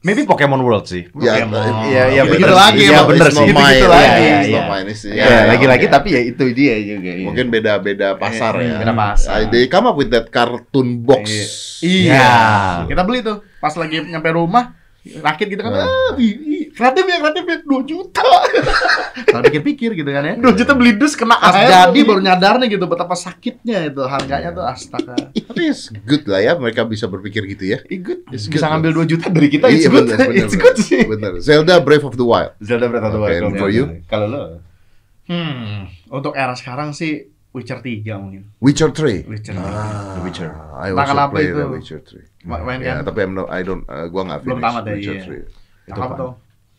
Maybe Pokemon World sih. Ya, Pokemon. Iya, iya, oke, begitu that's- lagi, iya, emang bener it's sih. not Gitu-gitu mine, lagi, iya, iya, it's not iya. mine, it's- Ya, iya, lagi-lagi oke. tapi ya itu dia juga. iya. mungkin beda-beda pasar ya. Hmm. beda pasar. I- They come up with that cartoon box. Iya. Iya. Kita beli tuh pas lagi nyampe rumah rakit gitu kan. Hmm. Ah, ih, ih, kreatif ya, kreatif ya 2 juta. Kalau pikir-pikir gitu kan ya. Duh, kita beli dus kena Pas air. jadi baru nyadarnya gitu betapa sakitnya itu harganya tuh astaga. Tapi it's good lah ya mereka bisa berpikir gitu ya. It's good. It's Bisa good. ngambil 2 juta dari kita, it's Iya, good. bener, bener, It's bener. good sih. Bener. Zelda Breath of the Wild. Zelda Breath of the Oke, Wild. and kalau for nggak you? salah. Kalau lo? Hmm, untuk era sekarang sih Witcher 3 mungkin. Witcher 3. Witcher 3. Ah, The Witcher. I Nah, also kenapa play itu? The Witcher 3. Ma- main Ya, kan? tapi I'm not, I don't, uh, gua nggak Belum finish tamat ya, Witcher iya. 3. Itu Cakep apa? tuh.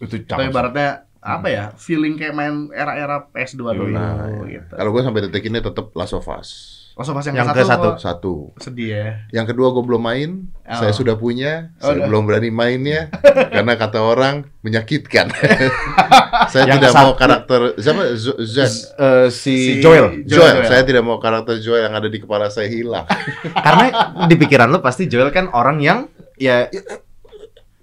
Itu Tapi cakep. ibaratnya apa ya? Hmm. Feeling kayak main era-era PS2 dulu Nah, ya. gitu. Kalau gua sampai detik ini tetap Last of Us. Langsung pas yang, Yang ke satu. ke-satu. Satu. kok Sedih ya. Yang kedua gua belum main, Oh. saya sudah punya, Oh, saya udah. belum berani mainnya karena kata orang menyakitkan. saya Yang tidak satu- mau karakter siapa Z, Z. Eh, si Si- Joel. Joel, Joel. Joel. Saya tidak mau karakter Joel yang ada di kepala saya hilang. Karena di pikiran lo pasti Joel kan orang yang ya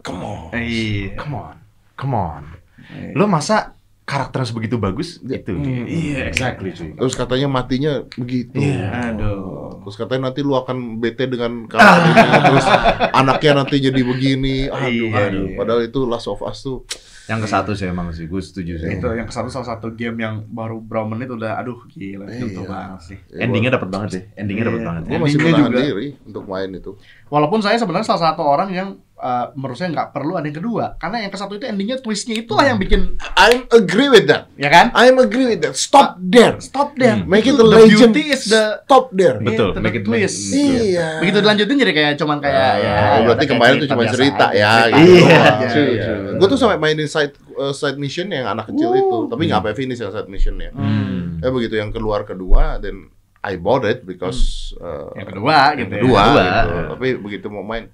Come on. Iya. come on, come on. Iya. Lo masa karakternya sebegitu bagus itu? Hmm, iya. exactly cuy. Terus katanya matinya begitu. Aduh. Terus katanya nanti lu akan bete dengan karakter ini. Terus anaknya nanti jadi begini. Aduh, Iya, aduh. iya. Padahal itu Last of Us tuh. Yang ke satu sih emang sih, gue setuju Iya. sih. Itu yang satu salah satu game yang baru berapa menit udah aduh gila nyentuh Iya. banget sih. Endingnya dapat banget sih, endingnya dapat Iya. banget. Gue masih endingnya menahan juga. diri untuk main itu. Walaupun saya sebenarnya salah satu orang yang eh, menurut saya nggak perlu ada yang kedua karena yang ke satu itu endingnya twistnya itulah Hmm. yang bikin I'm agree with that. ya kan I'm agree with that. Stop there. stop there Hmm. Make it Itu a the legend. beauty is the Stop there. Betul, Iya, make it- make it- twist. betul. Iya. begitu dilanjutin jadi kayak cuman kayak Ah, ya berarti kayak kemarin itu cuma biasa cerita aja. ya, Cerita doang. gitu. Iya, Iya, true, iya. true. Gue tuh sampai mainin side uh, side mission yang anak kecil Uh. itu, tapi nggak sampai finish yang side missionnya. Hmm. Eh begitu yang keluar kedua, then I bought it because uh, yang kedua yang gitu ya. kedua, Kedua. gitu. tapi begitu mau main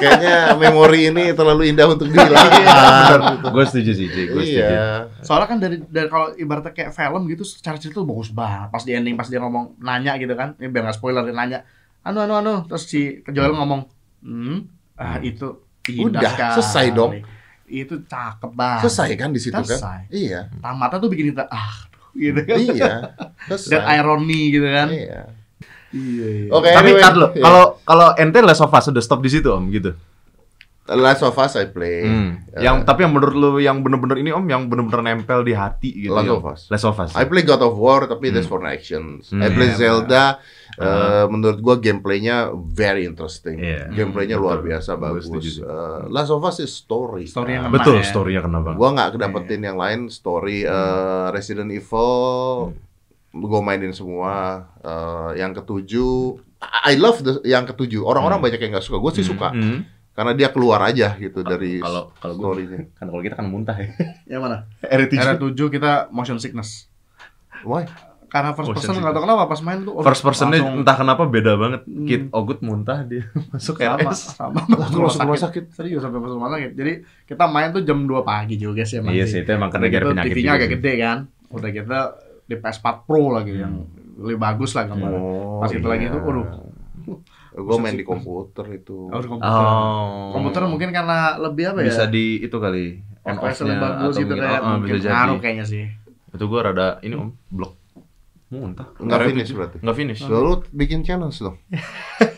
kayaknya memori ini terlalu indah untuk Iya. dihilangkan Gue setuju sih, Jay. Gue setuju. iya Soalnya kan dari dari kalau ibaratnya kayak film gitu secara cerita tuh bagus banget. Pas di ending pas dia ngomong nanya gitu kan. Ini biar nggak spoiler dia nanya. Anu anu anu terus si Joel ngomong, "Hmm, ah itu indah Udah, sekali." selesai dong. Itu cakep Ah. banget. selesai kan di situ kan Selesai. iya Tamatnya tuh bikin kita ah aduh, gitu kan. iya Dan selesai ironi gitu kan. iya Iya. oke Tapi anyway, tar lo, iya. kalau kalau ente Last of Us udah stop di situ om gitu. Last of Us I play Hmm. Eh, Yang tapi yang menurut lo yang bener-bener ini om yang bener-bener nempel di hati gitu. Last ya, Om. of Us. Last of Us. I play God of War tapi that's for actions. Hmm. Ah. I play Iya, Zelda eh, menurut gua gameplaynya very interesting. Iya. Gameplaynya Betul. luar biasa Gua bagus. setuju sih. Eh, Last of Us is story. Story yang kan. Ah, Betul, Emang ya. story-nya kenapa? Gua nggak kedapetin iya. yang lain story Hmm. eh, Resident Evil gua mainin semua. Eh, yang ketujuh I love the- yang ketujuh. Orang-orang Hmm. banyak yang nggak suka. Gue sih suka Hmm. karena dia keluar aja gitu dari Kalau kalau gue story-nya. kan kalau kita kan muntah ya. Yang mana? Era R7. 7 kita motion sickness. Why? Karena first Motion person nggak tahu kenapa pas main tuh Oh, oh, First personnya langsung- entah kenapa beda banget. Hmm. Kid Ogut muntah dia masuk ya. sama, RS. sama Langsung masuk rumah sakit. Serius sampai masuk rumah sakit. Jadi kita main tuh jam 2 pagi juga sih emang. Iya sih sih. itu emang karena Udah gara gitu penyakit. TV-nya juga agak sih. Hmm. gede kan. Udah kita di PS4 Pro lagi yang lebih bagus lah gambarnya. Oh, Pas iya. itu lagi tuh, waduh. Gue main hmm. di komputer itu. Harus komputer. Oh. Komputer mungkin karena lebih apa ya? bisa di itu kali on FPS off-nya lebih bagus atau gitu mungkin- oh, kayak oh, mungkin bisa jadi. ngaruh kayaknya sih. Itu gua rada ini om blok muntah. Nggak Karena finish itu- berarti. Nggak finish. Lalu bikin challenge dong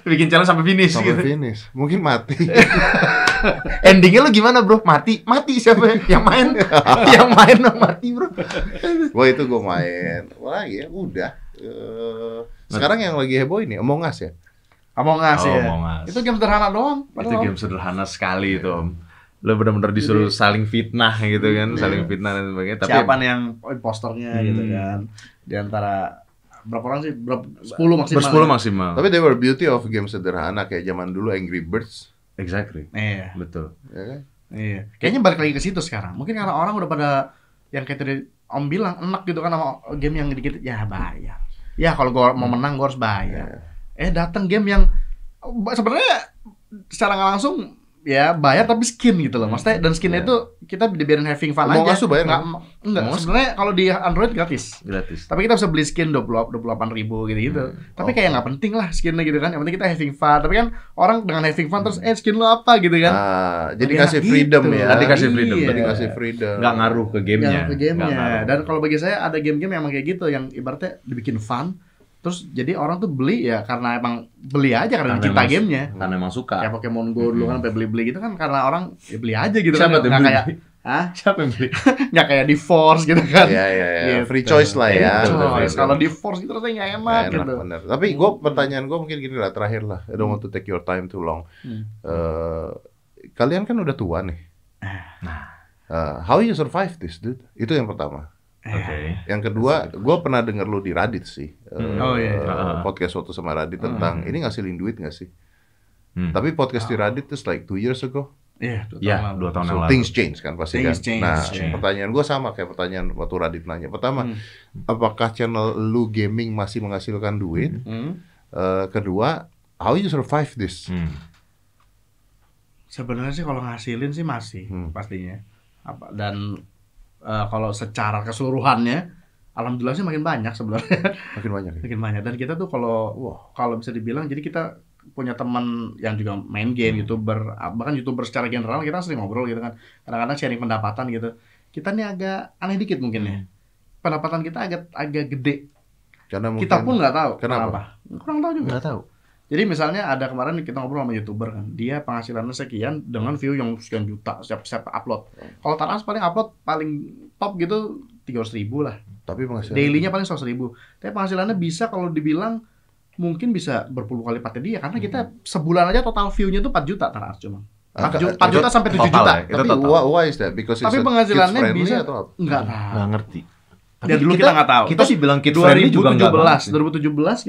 Bikin challenge sampai finish sampai gitu. finish. Mungkin mati. Endingnya lu gimana bro? Mati, mati siapa ya? Yang main, yang main yang mati bro. Wah itu gue main. Wah ya udah. Nah. Eh, sekarang yang lagi heboh ini Among Us ya. Among Us Oh, ya. Among Us. Itu game sederhana doang. Itu padahal. game sederhana sekali itu om. Lu benar-benar disuruh saling fitnah gitu Iya. kan, saling fitnah dan sebagainya. Tapi Siapa nih yang imposternya gitu Hmm. kan. Di antara berapa orang sih? Berapa? 10 maksimal. ya? bersepuluh maksimal. Tapi they were beauty of game sederhana kayak zaman dulu Angry Birds. Exactly, Iya. betul. Ya kan? Iya. Kayaknya balik lagi ke situ sekarang. Mungkin karena orang udah pada yang kayak tadi Om bilang enak gitu kan sama game yang dikit ya bayar. Ya kalau gua mau menang gua harus bayar. Eh datang game yang sebenarnya secara nggak langsung ya bayar tapi skin gitu loh. Maksudnya dan skinnya Iya. itu kita dibiarin having fun Among aja. Us tuh bayar Nggak- Enggak, Among Us? sebenarnya kalau di Android gratis. Gratis. Tapi kita bisa beli skin 20 28 ribu gitu-gitu. Tapi kayak nggak penting lah skinnya gitu kan. Yang penting kita having fun. Tapi kan orang dengan having fun terus eh skin lo apa gitu kan. Ah, jadi Ada kasih gitu. freedom ya. Tadi kasih freedom, Iya. Jadi kasih freedom. Nggak ngaruh ke gamenya. Yang ke Nggak gamenya. ngaruh. Dan kalau bagi saya ada game-game yang emang kayak gitu yang ibaratnya dibikin fun. Terus jadi orang tuh beli ya karena emang beli aja Karena karena, Nah. dicinta emang- gamenya. karena emang suka. Kayak Pokemon Go dulu kan sampai beli-beli gitu kan karena orang ya beli aja gitu Siapa kan. tuh Nggak beli? kayak Hah? Siapa yang beli? Nggak kayak di Force gitu kan. Ya ya ya. Gitu. Free choice lah ya. Free Coy, choice. kalau di Force gitu rasanya nggak enak, Nggak enak, gitu. bener. Tapi gue pertanyaan gue mungkin gini lah terakhir lah. I don't want to take your time too long. Hmm. Eh, kalian kan udah tua nih. Nah. Eh, how you survive this, dude? Itu yang pertama. Iya. Oke. Yang kedua, gue pernah denger lu di Radit sih. Eh, Hmm. Oh, iya, Hmm. iya. eh, Podcast waktu sama Radit tentang ini ngasilin duit gak sih? Hmm. Tapi podcast di Ah. Radit itu like two years ago. Iya, dua tahun Ya, lalu. dua tahun So yang lalu. things change kan pasti Things kan. change, nah, change. pertanyaan gue sama kayak pertanyaan waktu Radit nanya. Pertama, Hmm. apakah channel lu gaming masih menghasilkan duit? Hmm. Eh, kedua, how you survive this? Hmm. Sebenarnya sih kalau ngasilin sih masih Hmm. pastinya. Apa dan eh, kalau secara keseluruhannya alhamdulillah sih makin banyak sebenarnya. Makin banyak. ya? makin banyak dan kita tuh kalau Wah. kalau bisa dibilang jadi kita punya teman yang juga main game youtuber bahkan youtuber secara general kita sering ngobrol gitu kan kadang-kadang sharing pendapatan gitu kita nih agak aneh dikit mungkin ya pendapatan kita agak agak gede Karena mungkin kita pun nggak tahu Kenapa? kenapa. kurang tahu juga Nggak tahu. jadi misalnya ada kemarin kita ngobrol sama youtuber kan dia penghasilannya sekian dengan view yang sekian juta setiap setiap upload Iya. kalau Taras paling upload paling top gitu tiga ribu lah tapi Iya. penghasilan Dailynya paling seratus ribu. Tapi penghasilannya bisa kalau dibilang mungkin bisa berpuluh kali lipatnya dia karena kita Iya. sebulan aja total view-nya tuh 4 juta Taras cuma. 4 juta, 4 juta sampai 7 Total juta. ya? Itu Nah, Tapi total. why, why is that? Because Tapi it's a penghasilannya kids-friendly bisa atau apa? enggak tahu. Nggak ngerti. Tapi Dan dulu kita nggak tahu. Nah, Kita sih bilang kids friendly juga nggak 2017, banget sih.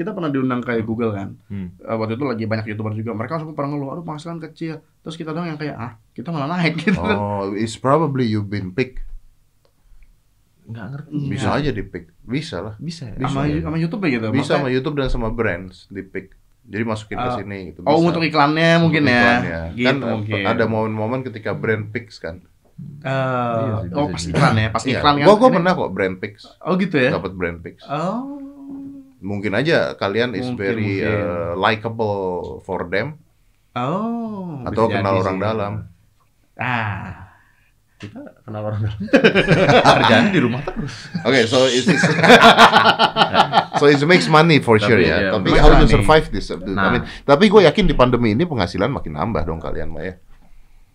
2017 kita pernah diundang ke Google kan. Hmm. Eh, waktu itu lagi banyak youtuber juga. Mereka langsung pernah ngeluh, aduh penghasilan kecil. Terus kita doang yang kayak, ah kita malah naik gitu kan. Oh, it's probably you been picked. Nggak ngerti. Iya. Bisa aja di pick. Bisa lah. Bisa ya? Sama, sama YouTube ya gitu. Bisa sama Makanya- YouTube dan sama brands di pick. Jadi masukin ke Ah. sini gitu. Oh Bisa. untuk iklannya mungkin Iklannya. ya. Gitu kan mungkin. ada momen-momen ketika brand picks kan. Eh, Iya sih, oh bisa pas jadi. iklan ya, pas Iya. iklan kan. Gua gua Ini- pernah kok brand picks. Oh gitu ya. Dapat brand picks. Oh. Mungkin aja kalian is Mungkin, very mungkin. uh, likable for them Oh. atau bisa kenal jadi orang sih. dalam. Ah. Kita kenal orang dalam. Kerjaan di rumah terus. Oke, so it's, it's so it makes money for Tapi, sure ya, ya. Tapi iya, makes how to money. survive this? Abdul? I Nah. mean, tapi gue yakin di pandemi ini penghasilan makin nambah dong kalian, ya. Maya.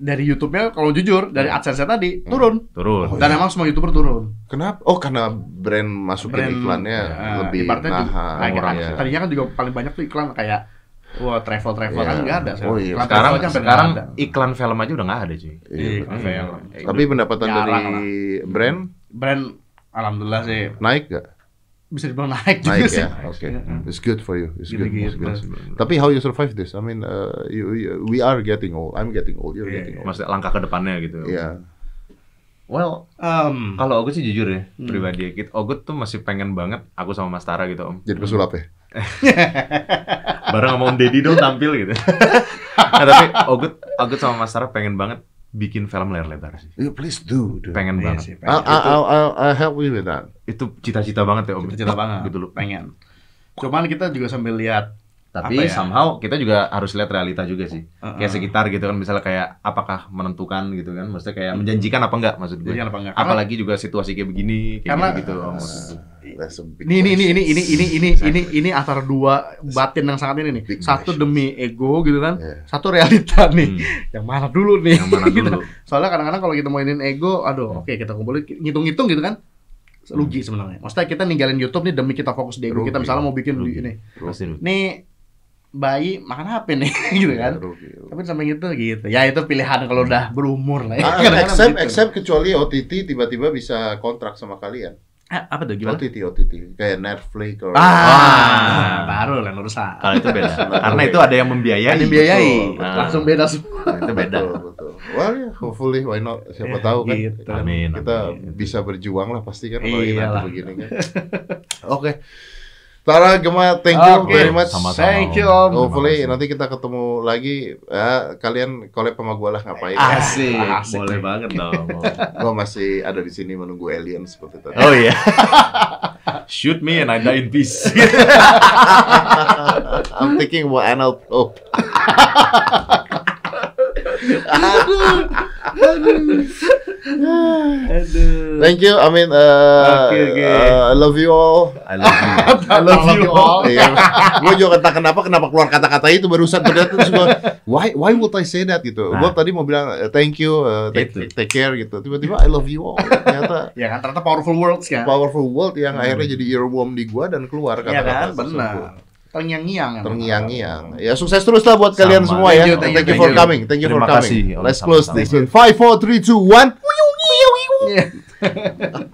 Dari YouTube-nya kalau jujur dari Iya. AdSense tadi turun. Turun. Oh, Dan emang semua YouTuber turun. Kenapa? Oh, karena brand masukin Brand, iklannya eh, lebih ibaratnya juga- nahan Kayak- orang kayak- ya. Tadinya kan juga paling banyak tuh iklan kayak wah travel travel Iya. kan nggak ada. Oh, iya. Iklan sekarang travel aja sampai sekarang nggak ada. iklan film aja udah nggak ada cuy. Iya, Iya, betul. kayak- Eh, Tapi pendapatan Jarang dari brand brand alhamdulillah sih naik gak? bisa dibilang naik juga Naik sih. Iya. ya, oke. It's good for you. It's good. It's good. Gitu-gitu. Tapi how you survive this? I mean, uh, you, you- we are getting old. I'm getting old. You're Iya, getting old. Maksudnya langkah ke depannya gitu. Iya. Well, Em, kalau aku sih jujur ya, Hmm. pribadi ya, Kit, Ogut tuh masih pengen banget aku sama Mas Tara gitu, Om. Mm-hmm. Jadi pesulap ya. Bareng sama Om Deddy dong tampil gitu. nah, tapi Ogut, Ogut sama Mas Tara pengen banget bikin film layar lebar sih. You Iya, please do. do. Pengen iya banget. sih, pengen. I'll, I'll, I'll, I'll help you with that. Itu cita-cita banget ya, Om. Cita-cita banget. Gitu loh. Pengen. Cuman kita juga sambil lihat Tapi Apa ya? somehow kita juga harus lihat realita juga sih. Uh-uh. Kayak sekitar gitu kan misalnya kayak apakah menentukan gitu kan. Maksudnya kayak menjanjikan apa enggak maksud gue. jadi Hmm. apa enggak. Karena- Apalagi juga situasi kayak begini kayak Karena- gitu, Om. maksud gue. That's a big Ini ini ini ini ini ini ini ini ini antara dua batin yang sangat ini Big Iya. nih. Satu demi ego gitu kan, Yeah. satu realita nih. Hmm, Yang mana dulu nih? yang mana Kita- dulu? Soalnya kadang-kadang kalau kita mainin ego, Hmm. aduh, oke kita kumpulin ngitung-ngitung gitu kan. Rugi sebenarnya. Maksudnya kita ninggalin YouTube nih demi kita fokus di ego kita Rugi. misalnya mau bikin Rugi. ini. Pasti dulu. Nih bayi makan HP nih Iya, gitu kan. Tapi sampai gitu gitu. Ya itu pilihan kalau udah berumur lah ya. Ah, Kadang-kadang except, begitu. except kecuali OTT tiba-tiba bisa kontrak sama kalian. Ah, apa tuh gimana? OTT, OTT. Kayak Netflix or... Ah, Ah. baru lah urusan. Kalau itu beda. Karena itu ada yang membiayai. Yang dibiayai Betul. Ah. Nah, langsung beda semua. itu beda. Betul, betul. Well, yeah, hopefully, why not? Siapa tahu kan. Gitu. Amin. kita amin. bisa berjuang lah pasti kan kalau ini Iyalah. nanti begini kan. Oke. Tara Gema, thank you Oke. very much. Sama-sama. Thank you Om. Terima kasih. Hopefully Oh, nanti kita ketemu lagi ya, kalian collab sama gue lah ngapain. Ah, Ah. Asik. Asik. Boleh banget dong. Gue masih ada di sini menunggu alien seperti tadi. Oh iya. Shoot me and I die in peace. Ah. I'm thinking about oh. anal probe. Aduh. Thank you. I mean, uh, Oke, oke. uh, I love you all. I love you. I love you all. gue Iya. juga entah kenapa kenapa keluar kata-kata itu barusan ternyata terus gua, why why would I say that gitu. Gue Nah. tadi mau bilang eh, thank you, eh, take, Itu. take care gitu. Tiba-tiba I love you all. Ternyata Ya kan ternyata powerful words kan. powerful world yang akhirnya jadi earworm di gua dan keluar Iya kan, kata-kata tersebut. benar. Terngiang-ngiang. emang. Terngiang-ngiang. Ya sukses terus lah buat kalian Sama. semua Thank ya. you, thank, thank you, you, for thank you. coming. Thank you Terima for coming. kasih. Let's Sama-sama. close this in 5 4 3 2 1.